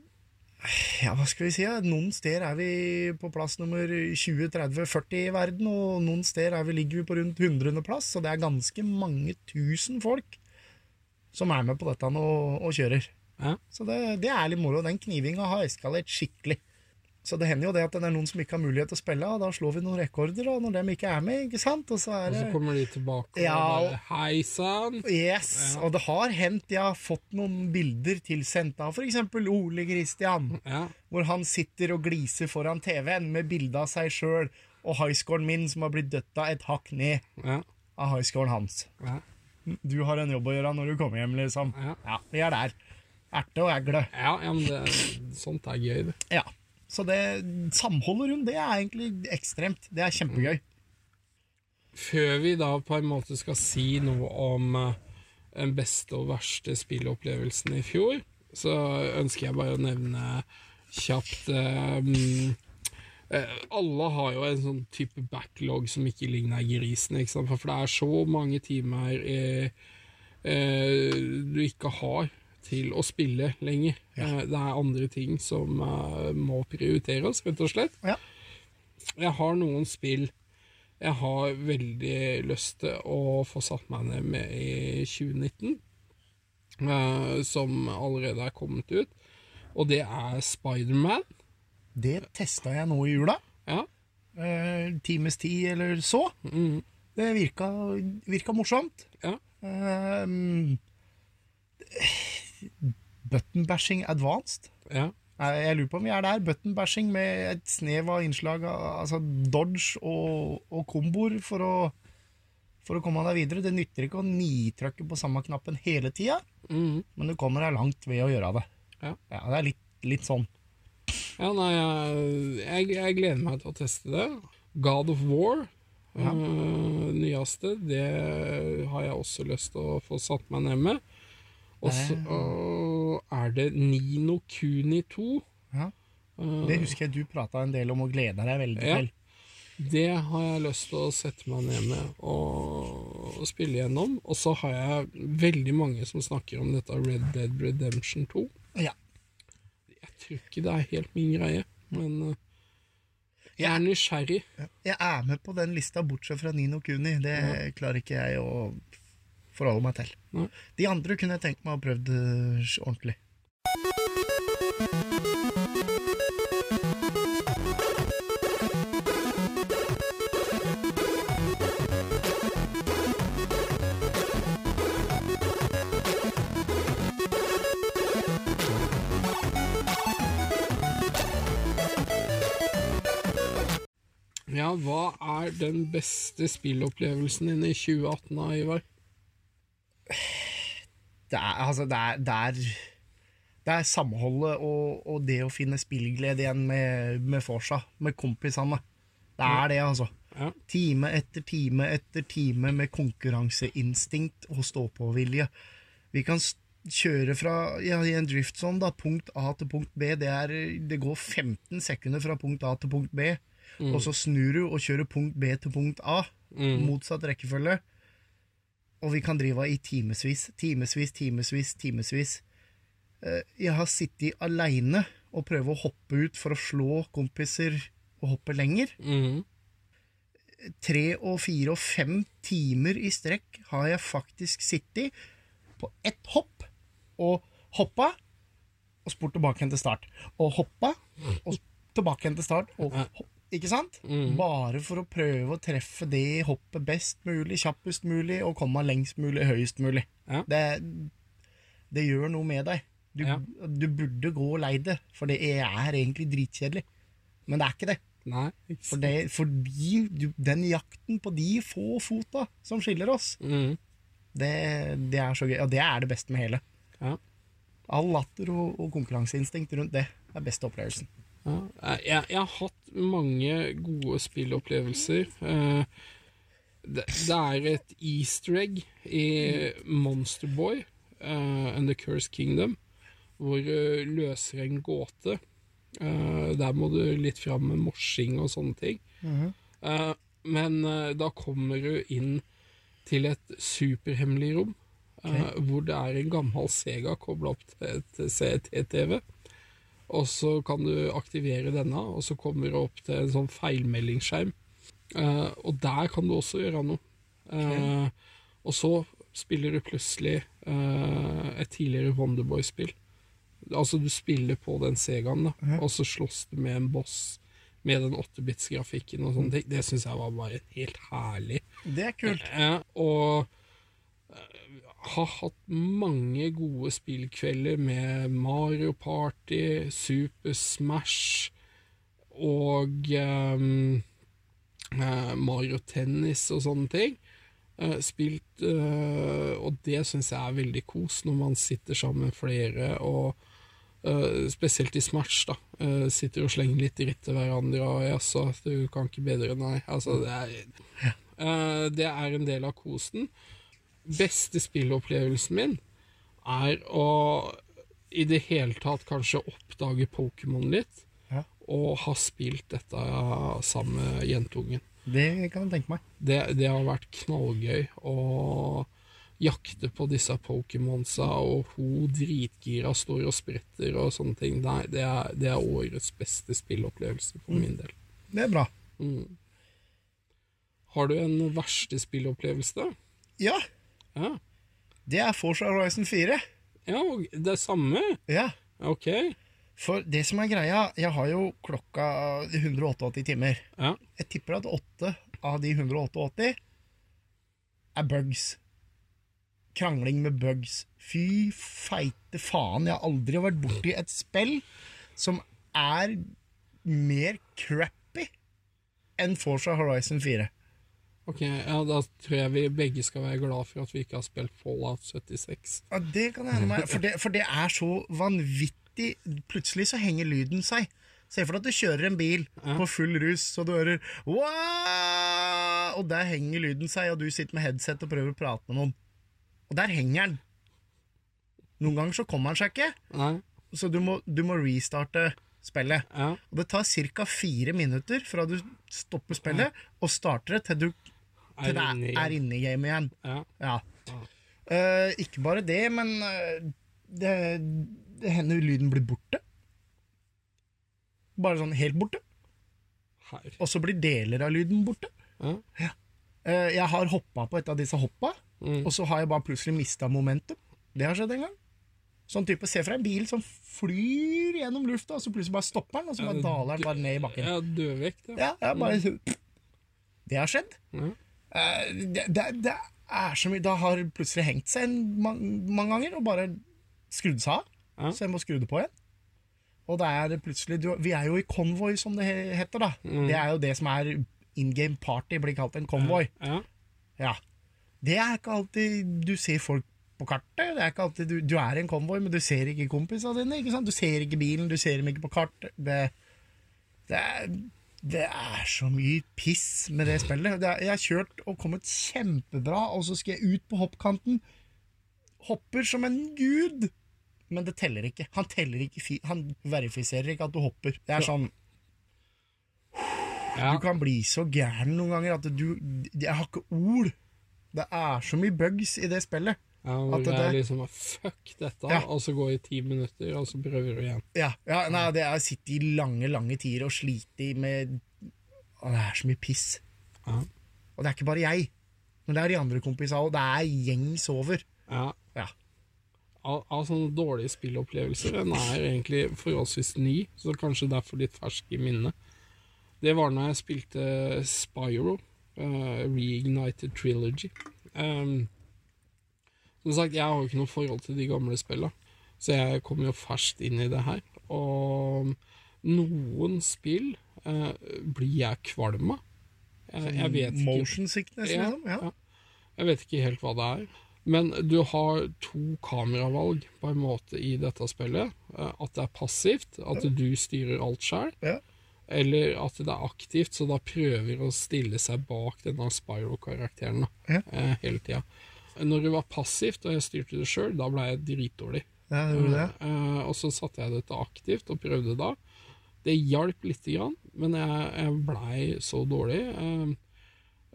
[SPEAKER 1] ja, hva skal vi si? ja? Noen steder er vi på plass nummer 20, 30, 40 i verden, og noen steder er vi, ligger vi på rundt 100. plass, så det er ganske mange tusen folk som er med på dette nå og kjører.
[SPEAKER 2] Ja.
[SPEAKER 1] Så det, det er litt moro. Den knivinga har eskalert skikkelig. Så det hender jo det at det er noen som ikke har mulighet til å spille, og da slår vi noen rekorder da, når de ikke er med, ikke sant? Og så er
[SPEAKER 2] Og
[SPEAKER 1] det...
[SPEAKER 2] så kommer de tilbake og
[SPEAKER 1] Ja, og-
[SPEAKER 2] bare Hei sann!
[SPEAKER 1] Yes, og det har hendt jeg har fått noen bilder tilsendt av f.eks. Ole Kristian,
[SPEAKER 2] Ja.
[SPEAKER 1] hvor han sitter og gliser foran TV-en med bilde av seg sjøl og highscoren min som har blitt døtta et hakk ned
[SPEAKER 2] Ja.
[SPEAKER 1] av highscoren hans.
[SPEAKER 2] Ja.
[SPEAKER 1] Du har en jobb å gjøre når du kommer hjem, liksom.
[SPEAKER 2] Ja.
[SPEAKER 1] Ja, vi er der. Erte og egle.
[SPEAKER 2] ja, ja men det, sånt er gøy, det.
[SPEAKER 1] Ja. Så det samholdet rundt det er egentlig ekstremt. Det er kjempegøy.
[SPEAKER 2] Før vi da på en måte skal si noe om eh, den beste og verste spillopplevelsen i fjor, så ønsker jeg bare å nevne kjapt eh, mm, eh, Alle har jo en sånn type backlog som ikke ligner grisen, ikke sant? for det er så mange timer eh, eh, du ikke har til å spille lenger. Eh, det er andre ting som eh, må prioriteres, rett og slett.
[SPEAKER 1] Ja.
[SPEAKER 2] Jeg har noen spill jeg har veldig lyst til å få satt meg ned med i 2019, eh, som allerede er kommet ut. Og det er Spiderman.
[SPEAKER 1] Det testa jeg nå i jula.
[SPEAKER 2] Ja.
[SPEAKER 1] Eh, times tid eller så.
[SPEAKER 2] Mm,
[SPEAKER 1] Det virka, virka morsomt.
[SPEAKER 2] ja.
[SPEAKER 1] Um, button bashing advanced.
[SPEAKER 2] Ja.
[SPEAKER 1] Nei, Jeg lurer på om vi er der. Button bashing med et snev av innslag av altså dodge og, og komboer for å, for å komme deg videre. Det nytter ikke å nitrykke på samme knappen hele tida,
[SPEAKER 2] Mm.
[SPEAKER 1] men du kommer deg langt ved å gjøre det.
[SPEAKER 2] Ja.
[SPEAKER 1] det er litt, litt sånn.
[SPEAKER 2] ja, nei, jeg, jeg, jeg gleder meg til å teste det. God of War, eh, nyeste, det har jeg også lyst til å få satt meg ned med. Og så eh, er det Nino Kuni 2.
[SPEAKER 1] Ja.
[SPEAKER 2] eh,
[SPEAKER 1] Det husker jeg du prata en del om og gleda deg veldig
[SPEAKER 2] Ja.
[SPEAKER 1] til.
[SPEAKER 2] Det har jeg lyst til å sette meg ned med og og spille gjennom. Og så har jeg veldig mange som snakker om dette Red Dead Redemption 2.
[SPEAKER 1] Ja.
[SPEAKER 2] Jeg tror ikke det er helt min greie, men eh, jeg er nysgjerrig.
[SPEAKER 1] Jeg er med på den lista, bortsett fra Nino Kuni. Det klarer ikke jeg å forholde meg til.
[SPEAKER 2] Nei.
[SPEAKER 1] De andre kunne jeg tenkt meg å ha prøvd eh, ordentlig.
[SPEAKER 2] Ja, hva er den beste spillopplevelsen din i 2018, da, Ivar?
[SPEAKER 1] det er, altså, det er, det er, det er samholdet og, og det å finne spillglede igjen med, med Forsa, med kompisene. Det er det, altså.
[SPEAKER 2] Ja.
[SPEAKER 1] Time etter time etter time med konkurranseinstinkt og stå-på-vilje. Vi kan s- kjøre fra ja, i en driftzone, da, punkt A til punkt B. Det, er, det går 15 sekunder fra punkt A til punkt B, og så snur du og kjører punkt B til punkt A. Motsatt rekkefølge. Og vi kan drive i timevis, timevis, timevis, timevis. Eh, Jeg har sittet aleine og prøvd å hoppe ut for å slå kompiser og hoppe lenger.
[SPEAKER 2] Mm.
[SPEAKER 1] Tre og fire og fem timer i strekk har jeg faktisk sittet på ett hopp og hoppa og spurt tilbake igjen til start. Og hoppa og s- tilbake igjen til start. Og hopp, ikke sant?
[SPEAKER 2] Mm.
[SPEAKER 1] Bare for å prøve å treffe det hoppet best mulig, kjappest mulig og komme lengst mulig, høyest mulig.
[SPEAKER 2] Ja.
[SPEAKER 1] Det, det gjør noe med deg. Du,
[SPEAKER 2] Ja.
[SPEAKER 1] du burde gå lei det, for det er egentlig dritkjedelig. Men det er ikke det.
[SPEAKER 2] Nei, ikke
[SPEAKER 1] For
[SPEAKER 2] sant?
[SPEAKER 1] det, fordi du, den jakten på de få fota som skiller oss,
[SPEAKER 2] Mm.
[SPEAKER 1] det, det er så gøy. Og det er det beste med hele.
[SPEAKER 2] Ja.
[SPEAKER 1] All latter og, og konkurranseinstinkt rundt det er beste opplevelsen.
[SPEAKER 2] Ja. Jeg, jeg har hatt mange gode spillopplevelser. Eh, Det, det er et easter egg i Monster Boy eh, and The Cursed Kingdom, hvor du løser en gåte. Eh, der må du litt fram med morsing og sånne ting. Eh, men eh, da kommer du inn til et superhemmelig rom, eh, hvor det er en gammel Sega kobla opp til et CT-TV. Og så kan du aktivere denne, og så kommer du opp til en sånn feilmeldingsskjerm. Eh, og der kan du også gjøre noe. Eh, og så spiller du plutselig eh, et tidligere Wonderboy-spill. Altså, du spiller på den Segaen, da, og så slåss du med en boss med den 8-bits-grafikken og sånne ting. Det syns jeg var bare helt herlig.
[SPEAKER 1] Det er kult.
[SPEAKER 2] Eh, og eh, har hatt mange gode spillkvelder med Mario Party, Super Smash og ehm, eh, Mario Tennis og sånne ting. Eh, spilt eh, Og det syns jeg er veldig kos, når man sitter sammen flere og eh, spesielt i Smash, da. eh, sitter og slenger litt dritt til hverandre og 'jaså, du kan ikke bedre', nei. Altså, det er Eh, det er en del av kosen. Beste spillopplevelsen min er å i det hele tatt kanskje oppdage Pokémon litt,
[SPEAKER 1] Ja.
[SPEAKER 2] og ha spilt dette sammen med jentungen.
[SPEAKER 1] Det kan jeg tenke meg.
[SPEAKER 2] Det, det har vært knallgøy å jakte på disse Pokémonsa, og hun dritgira står og spretter og sånne ting. Nei, det er, det er årets beste spillopplevelse for min del.
[SPEAKER 1] Det er bra.
[SPEAKER 2] Har du en verste spillopplevelse, da?
[SPEAKER 1] Ja,
[SPEAKER 2] Ja.
[SPEAKER 1] det er Forza Horizon 4.
[SPEAKER 2] Ja, og det samme.
[SPEAKER 1] Ja.
[SPEAKER 2] Ok.
[SPEAKER 1] For det som er greia, jeg har jo klokka 188 timer.
[SPEAKER 2] Ja.
[SPEAKER 1] Jeg tipper at åtte av de 188 er bugs. Krangling med bugs. Fy feite faen, jeg har aldri vært borti et spill som er mer crappy enn Forza Horizon 4.
[SPEAKER 2] Ok, ja, Da tror jeg vi begge skal være glad for at vi ikke har spilt Fallout 76.
[SPEAKER 1] Ja, det kan jeg hende meg. For det, for det er så vanvittig. Plutselig så henger lyden seg. Se for deg at du kjører en bil på full rus, så du hører «Wah!» Og der henger lyden seg, og du sitter med headset og prøver å prate med noen. Og der henger den. Noen ganger så kommer den seg ikke,
[SPEAKER 2] Nei?
[SPEAKER 1] så du må, du må restarte spillet.
[SPEAKER 2] Ja.
[SPEAKER 1] Og det tar ca. fire minutter fra du stopper spillet og starter det, til du til det
[SPEAKER 2] inne
[SPEAKER 1] er,
[SPEAKER 2] igjen.
[SPEAKER 1] er inne i gamet igjen.
[SPEAKER 2] Ja.
[SPEAKER 1] Ja. Eh, ikke bare det, men eh, det, det hender lyden blir borte. Bare sånn helt borte.
[SPEAKER 2] Her.
[SPEAKER 1] Og så blir deler av lyden borte.
[SPEAKER 2] Ja.
[SPEAKER 1] Eh, jeg har hoppa på et av disse hoppa,
[SPEAKER 2] Mm.
[SPEAKER 1] og så har jeg bare plutselig mista momentum. Det har skjedd en gang. Sånn type, Se fra en bil som flyr gjennom lufta, og så plutselig bare stopper den, og så
[SPEAKER 2] Ja,
[SPEAKER 1] bare daler den bare ned i bakken.
[SPEAKER 2] ja dødvekt, ja.
[SPEAKER 1] Ja, jeg bare, det har skjedd.
[SPEAKER 2] Ja.
[SPEAKER 1] Eh, det, det, det er så mye Det har plutselig hengt seg en, man, mange ganger og bare skrudd seg av.
[SPEAKER 2] Ja.
[SPEAKER 1] Så jeg må skru det på igjen. Og det er plutselig du, Vi er jo i konvoi, som det he- heter. da Det er jo det som er in game party blir kalt en konvoi.
[SPEAKER 2] Ja.
[SPEAKER 1] Ja. Det er ikke alltid du ser folk på kartet. Det er ikke alltid du, du er i en konvoi, men du ser ikke kompisene dine. ikke sant? Du ser ikke bilen, du ser dem ikke på kartet. Det, det, er, det er så mye piss med det spillet. Det er, jeg har kjørt og kommet kjempebra, og så skal jeg ut på hoppkanten. Hopper som en gud! Men det teller ikke. Han teller ikke fi, Han verifiserer ikke at du hopper. Det er sånn
[SPEAKER 2] Ja.
[SPEAKER 1] du kan bli så gæren noen ganger at du Jeg har ikke ord. Det er så mye bugs i det spillet.
[SPEAKER 2] Ja, hvor
[SPEAKER 1] At
[SPEAKER 2] det
[SPEAKER 1] det-
[SPEAKER 2] er liksom Fuck dette,
[SPEAKER 1] Ja.
[SPEAKER 2] og så går det ti minutter, og så prøver du igjen.
[SPEAKER 1] Ja, ja nei, det er å sitte i lange, lange tider og slite i med Å, Det er så mye piss.
[SPEAKER 2] Ja.
[SPEAKER 1] Og det er ikke bare jeg. Men det er de andre kompisene òg. Det er gjengs over.
[SPEAKER 2] Ja.
[SPEAKER 1] Ja.
[SPEAKER 2] Av, av sånne dårlige spillopplevelser. Den er egentlig forholdsvis ny, så kanskje derfor litt fersk i minnet. Det var når jeg spilte Spyro, eh, Reignited Trilogy. Ehm, som sagt, jeg har jo ikke noe forhold til de gamle spilla, så jeg kom jo ferskt inn i det her. Og noen spill eh, blir jeg kvalm av. Eh, Jeg,
[SPEAKER 1] Sånn
[SPEAKER 2] jeg vet ikke
[SPEAKER 1] Motion sickness, liksom. Ja.
[SPEAKER 2] jeg vet ikke helt hva det er. Men du har to kameravalg på en måte i dette spillet. Eh, At det er passivt, at du styrer alt sjøl,
[SPEAKER 1] Ja.
[SPEAKER 2] eller at det er aktivt, så da prøver å stille seg bak denne Spyro-karakteren da,
[SPEAKER 1] Ja.
[SPEAKER 2] eh, hele tida. Når det var passivt, og jeg styrte det sjøl, da ble jeg dritdårlig.
[SPEAKER 1] ja, gjorde du det?
[SPEAKER 2] Eh, og så satte jeg det til aktivt og prøvde da. Det hjalp lite grann, men jeg, jeg blei så dårlig. eh,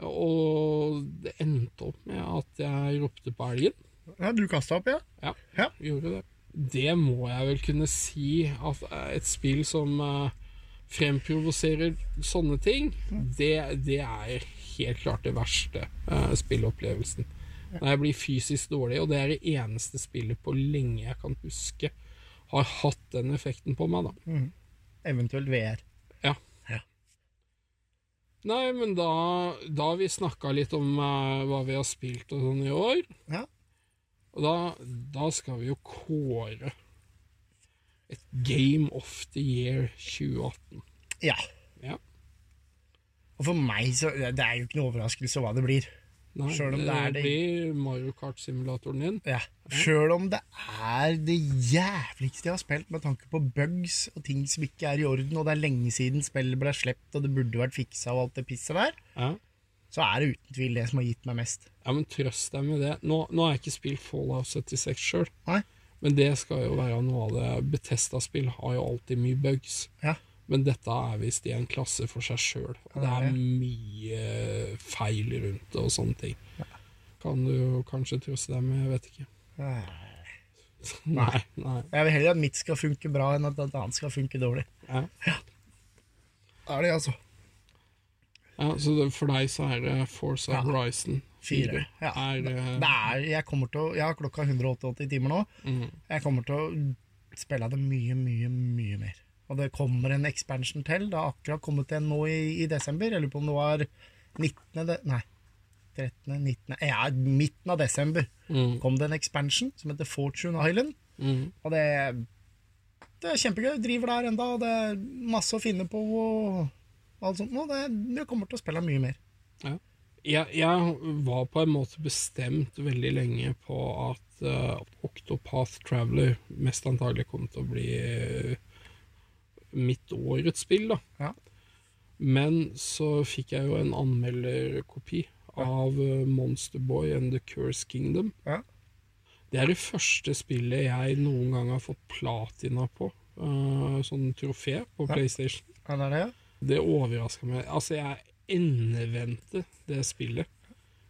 [SPEAKER 2] og det endte opp med at jeg ropte på elgen.
[SPEAKER 1] Ja, du kasta opp, ja?
[SPEAKER 2] Ja,
[SPEAKER 1] Ja.
[SPEAKER 2] gjorde det. Det må jeg vel kunne si at eh, et spill som eh, fremprovoserer sånne ting, det, det er helt klart det verste eh, spillopplevelsen. Når jeg blir fysisk dårlig, og det er det eneste spillet på lenge jeg kan huske har hatt den effekten på meg, da.
[SPEAKER 1] Eventuelt VR.
[SPEAKER 2] Ja.
[SPEAKER 1] Ja.
[SPEAKER 2] Nei, men da, da har vi snakka litt om eh, hva vi har spilt og sånn i år.
[SPEAKER 1] Ja.
[SPEAKER 2] Og da, da skal vi jo kåre et Game of the Year 2018.
[SPEAKER 1] ja.
[SPEAKER 2] Ja.
[SPEAKER 1] Og for meg så Det er jo ikke noe overraskelse hva det blir.
[SPEAKER 2] Nei,
[SPEAKER 1] Selv om det er det-
[SPEAKER 2] blir Mario Kart-simulatoren din.
[SPEAKER 1] Ja. Sjøl om det er det jævligste jeg har spilt, med tanke på bugs og ting som ikke er i orden, og det er lenge siden spillet ble slept og det burde vært fiksa, og alt det pisset der,
[SPEAKER 2] Ja.
[SPEAKER 1] så er det uten tvil det som har gitt meg mest.
[SPEAKER 2] ja, men trøst deg med det. Nå, nå har jeg ikke spilt Fallout 76 sjøl,
[SPEAKER 1] Nei?
[SPEAKER 2] men det skal jo være noe av det Betesta-spill har jo alltid mye bugs.
[SPEAKER 1] Ja.
[SPEAKER 2] Men dette er visst i en klasse for seg sjøl. Og det er
[SPEAKER 1] det.
[SPEAKER 2] mye feil rundt det og sånne ting. Kan du jo kanskje trøste deg med, jeg vet ikke. <laughs> Nei. nei.
[SPEAKER 1] Jeg vil heller at mitt skal funke bra, enn at et annet skal funke dårlig.
[SPEAKER 2] Ja.
[SPEAKER 1] Er det, altså?
[SPEAKER 2] Ja, så det, for deg så er det Force
[SPEAKER 1] Ja.
[SPEAKER 2] Horizon 4.
[SPEAKER 1] Fire. Ja.
[SPEAKER 2] Er, eh,
[SPEAKER 1] Det er, jeg kommer til å Jeg har klokka 188 timer nå. Jeg kommer til å spille det mye, mye, mye mer. Og det kommer en expansion til. Det har akkurat kommet en nå i, i desember. Jeg lurer på om det var 19. De, nei. 13. 19. Ja, midten av desember
[SPEAKER 2] Mm.
[SPEAKER 1] kom det en expansion som heter Fortune Island.
[SPEAKER 2] Mm.
[SPEAKER 1] Og det, det er kjempegøy. Jeg driver der enda, og det er masse å finne på og alt sånt. Og det, jeg kommer til å spille mye mer.
[SPEAKER 2] Ja. Jeg, jeg var på en måte bestemt veldig lenge på at eh, Octopath Traveler mest antagelig kom til å bli eh, mitt årets spill, da.
[SPEAKER 1] Ja.
[SPEAKER 2] Men så fikk jeg jo en anmelderkopi av eh, Monster Boy and The Curse Kingdom.
[SPEAKER 1] Ja.
[SPEAKER 2] Det er det første spillet jeg noen gang har fått platina på. eh, sånn trofé på
[SPEAKER 1] Ja.
[SPEAKER 2] PlayStation.
[SPEAKER 1] Ja, det er det, ja.
[SPEAKER 2] Det overraska meg. Altså, jeg endevendte det spillet.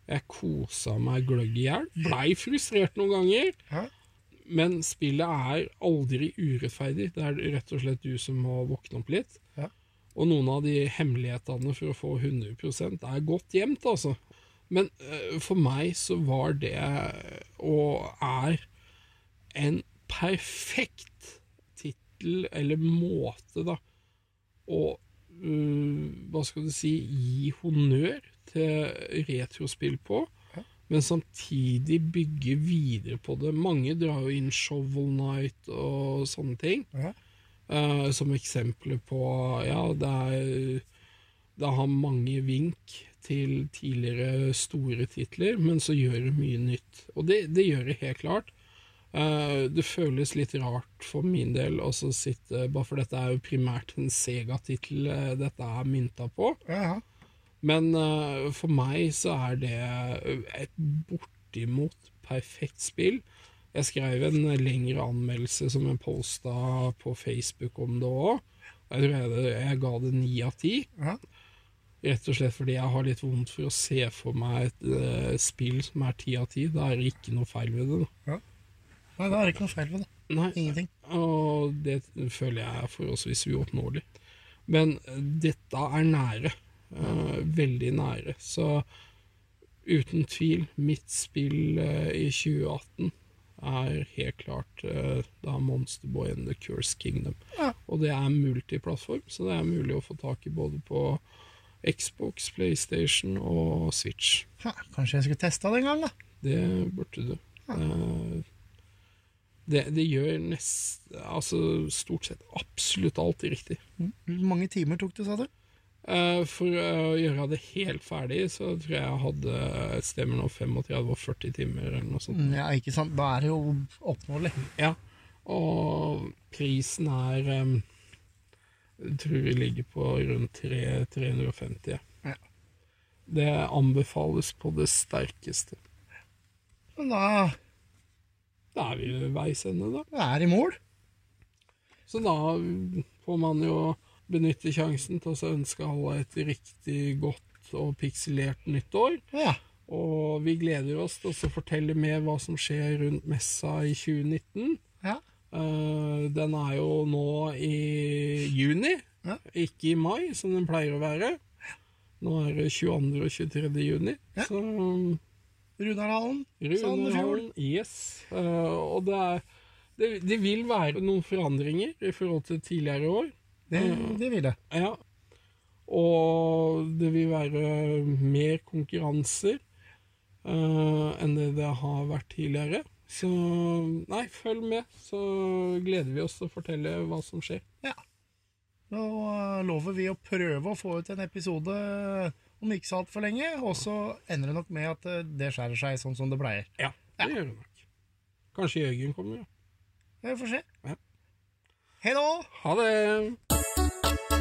[SPEAKER 2] Jeg kosa meg gløgg i hjel. Blei frustrert noen ganger.
[SPEAKER 1] Ja.
[SPEAKER 2] Men spillet er aldri urettferdig. Det er rett og slett du som må våkne opp litt.
[SPEAKER 1] Ja.
[SPEAKER 2] Og noen av de hemmelighetene for å få 100 er godt gjemt, altså. Men eh, for meg så var det, og er, en perfekt tittel, eller måte, da, å eh, Hva skal du si Gi honnør til retrospill på, men samtidig bygge videre på det. Mange drar jo inn Shovel Night og sånne ting.
[SPEAKER 1] Ja.
[SPEAKER 2] Eh, som eksempler på Ja, det er Det har mange vink til tidligere store titler, men så gjør det mye nytt. Og det, det gjør det helt klart. Eh, det føles litt rart for min del å så sitte Bare for dette er jo primært en Sega-tittel eh, dette er mynta på.
[SPEAKER 1] Ja,
[SPEAKER 2] Men eh, for meg så er det et bortimot perfekt spill. Jeg skrev en lengre anmeldelse som jeg posta på Facebook om det òg. Jeg tror jeg, jeg ga det ni av ti.
[SPEAKER 1] ja.
[SPEAKER 2] Rett og slett fordi jeg har litt vondt for å se for meg et eh, spill som er ti av ti. Da er det ikke noe feil ved det.
[SPEAKER 1] Nei, da er det ikke noe feil med det.
[SPEAKER 2] Nei,
[SPEAKER 1] Ingenting.
[SPEAKER 2] Og det føler jeg er forholdsvis uoppnåelig. Men eh, dette er nære. eh, veldig nære. Så uten tvil, mitt spill eh, i 2018 er helt klart eh, da Monsterboy and The Curse Kingdom.
[SPEAKER 1] Ja.
[SPEAKER 2] Og det er multiplattform, så det er mulig å få tak i både på Xbox, PlayStation og Switch.
[SPEAKER 1] Ja, kanskje jeg skulle testa det en gang, da.
[SPEAKER 2] Det burde du. Eh, Det, det gjør nest, altså stort sett absolutt alt riktig.
[SPEAKER 1] Hvor mange timer tok det, sa du?
[SPEAKER 2] Eh, For å gjøre det helt ferdig, så tror jeg jeg hadde eh, et sted mellom 35 og 40 timer eller noe sånt.
[SPEAKER 1] Mm, Ja, ikke sant. Da er det jo oppnåelig.
[SPEAKER 2] Ja. Og prisen er eh, Jeg tror vi ligger på rundt 3, 350.
[SPEAKER 1] Ja.
[SPEAKER 2] Det anbefales på det sterkeste.
[SPEAKER 1] Men da
[SPEAKER 2] Da er vi ved veis ende, da.
[SPEAKER 1] da er det i mål.
[SPEAKER 2] Så da får man jo benytte sjansen til å ønske alle et riktig godt og pikselert nytt år.
[SPEAKER 1] Ja.
[SPEAKER 2] Og vi gleder oss til å fortelle mer hva som skjer rundt messa i 2019.
[SPEAKER 1] ja.
[SPEAKER 2] Eh, den er jo nå i juni,
[SPEAKER 1] Ja.
[SPEAKER 2] ikke i mai, som den pleier å være. Nå er det 22. og 23. juni.
[SPEAKER 1] Ja. Sånn
[SPEAKER 2] Så
[SPEAKER 1] Runarhallen. Sandefjord.
[SPEAKER 2] Runarhallen, yes. Eh, og det er det, det vil være noen forandringer i forhold til tidligere år.
[SPEAKER 1] Det, det vil jeg.
[SPEAKER 2] Ja. Og det vil være mer konkurranser eh, enn det det har vært tidligere. Så nei, følg med, så gleder vi oss til å fortelle hva som skjer.
[SPEAKER 1] Ja. Nå eh, lover vi å prøve å få ut en episode om ikke så altfor lenge, og så ender det nok med at eh, det skjærer seg sånn som det pleier.
[SPEAKER 2] Ja, det gjør det nok. Kanskje Jørgen kommer, ja.
[SPEAKER 1] Vi får se.
[SPEAKER 2] Ja.
[SPEAKER 1] Hei da!
[SPEAKER 2] Ha det!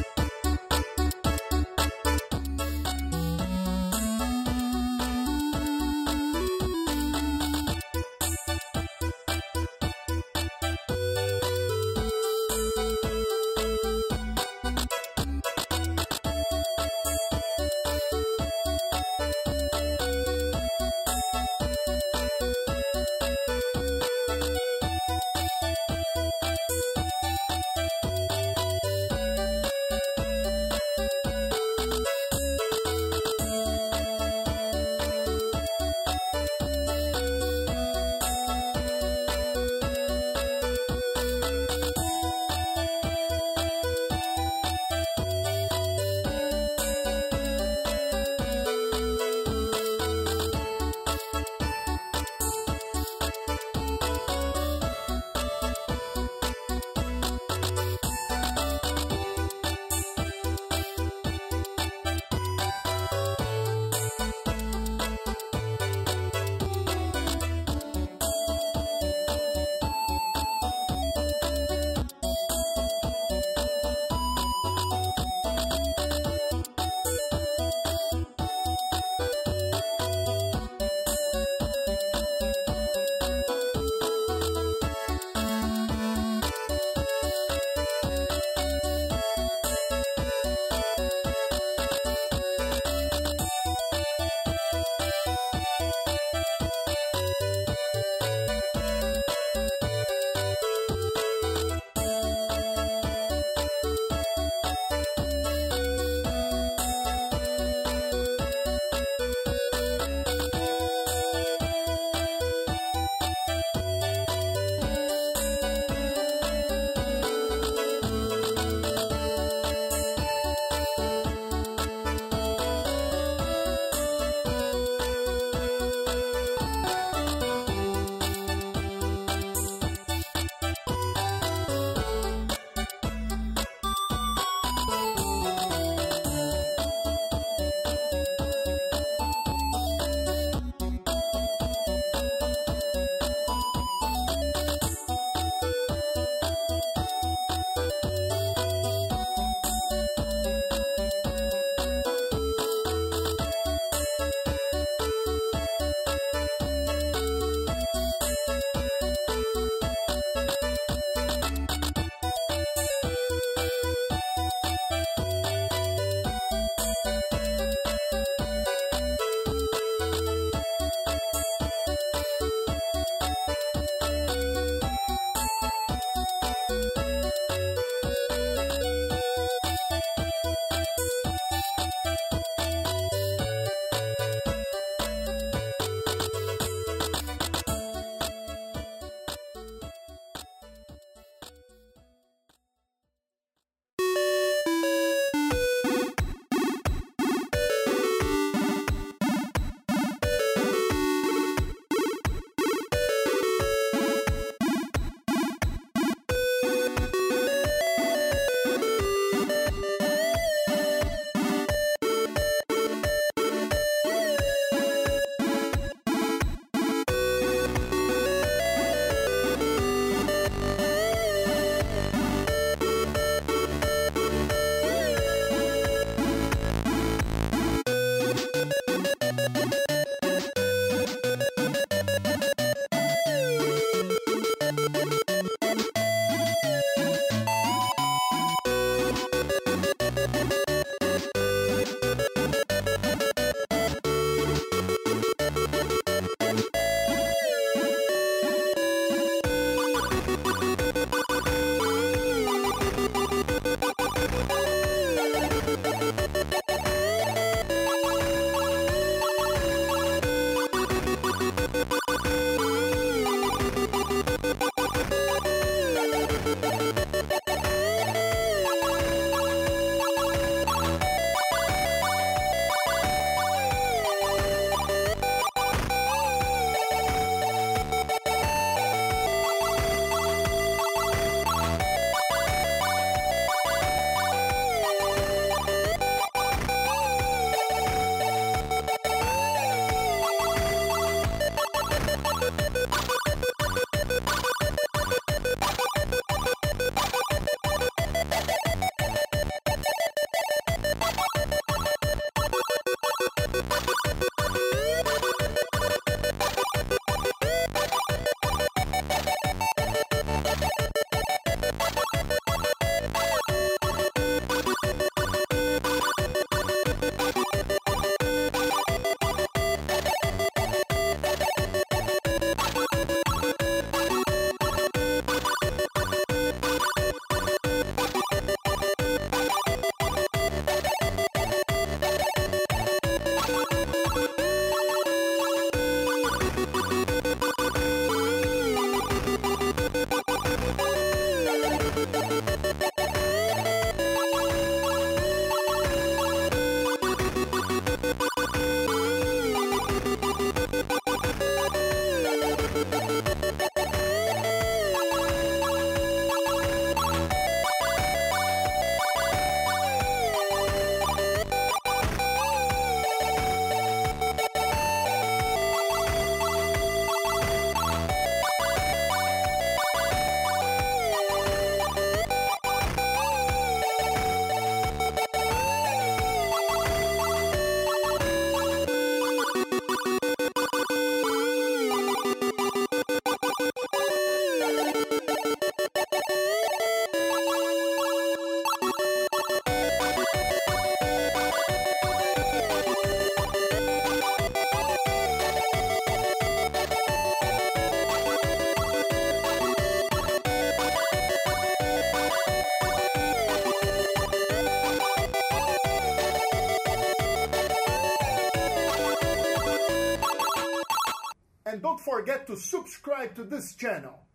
[SPEAKER 3] and don't forget to subscribe to this channel.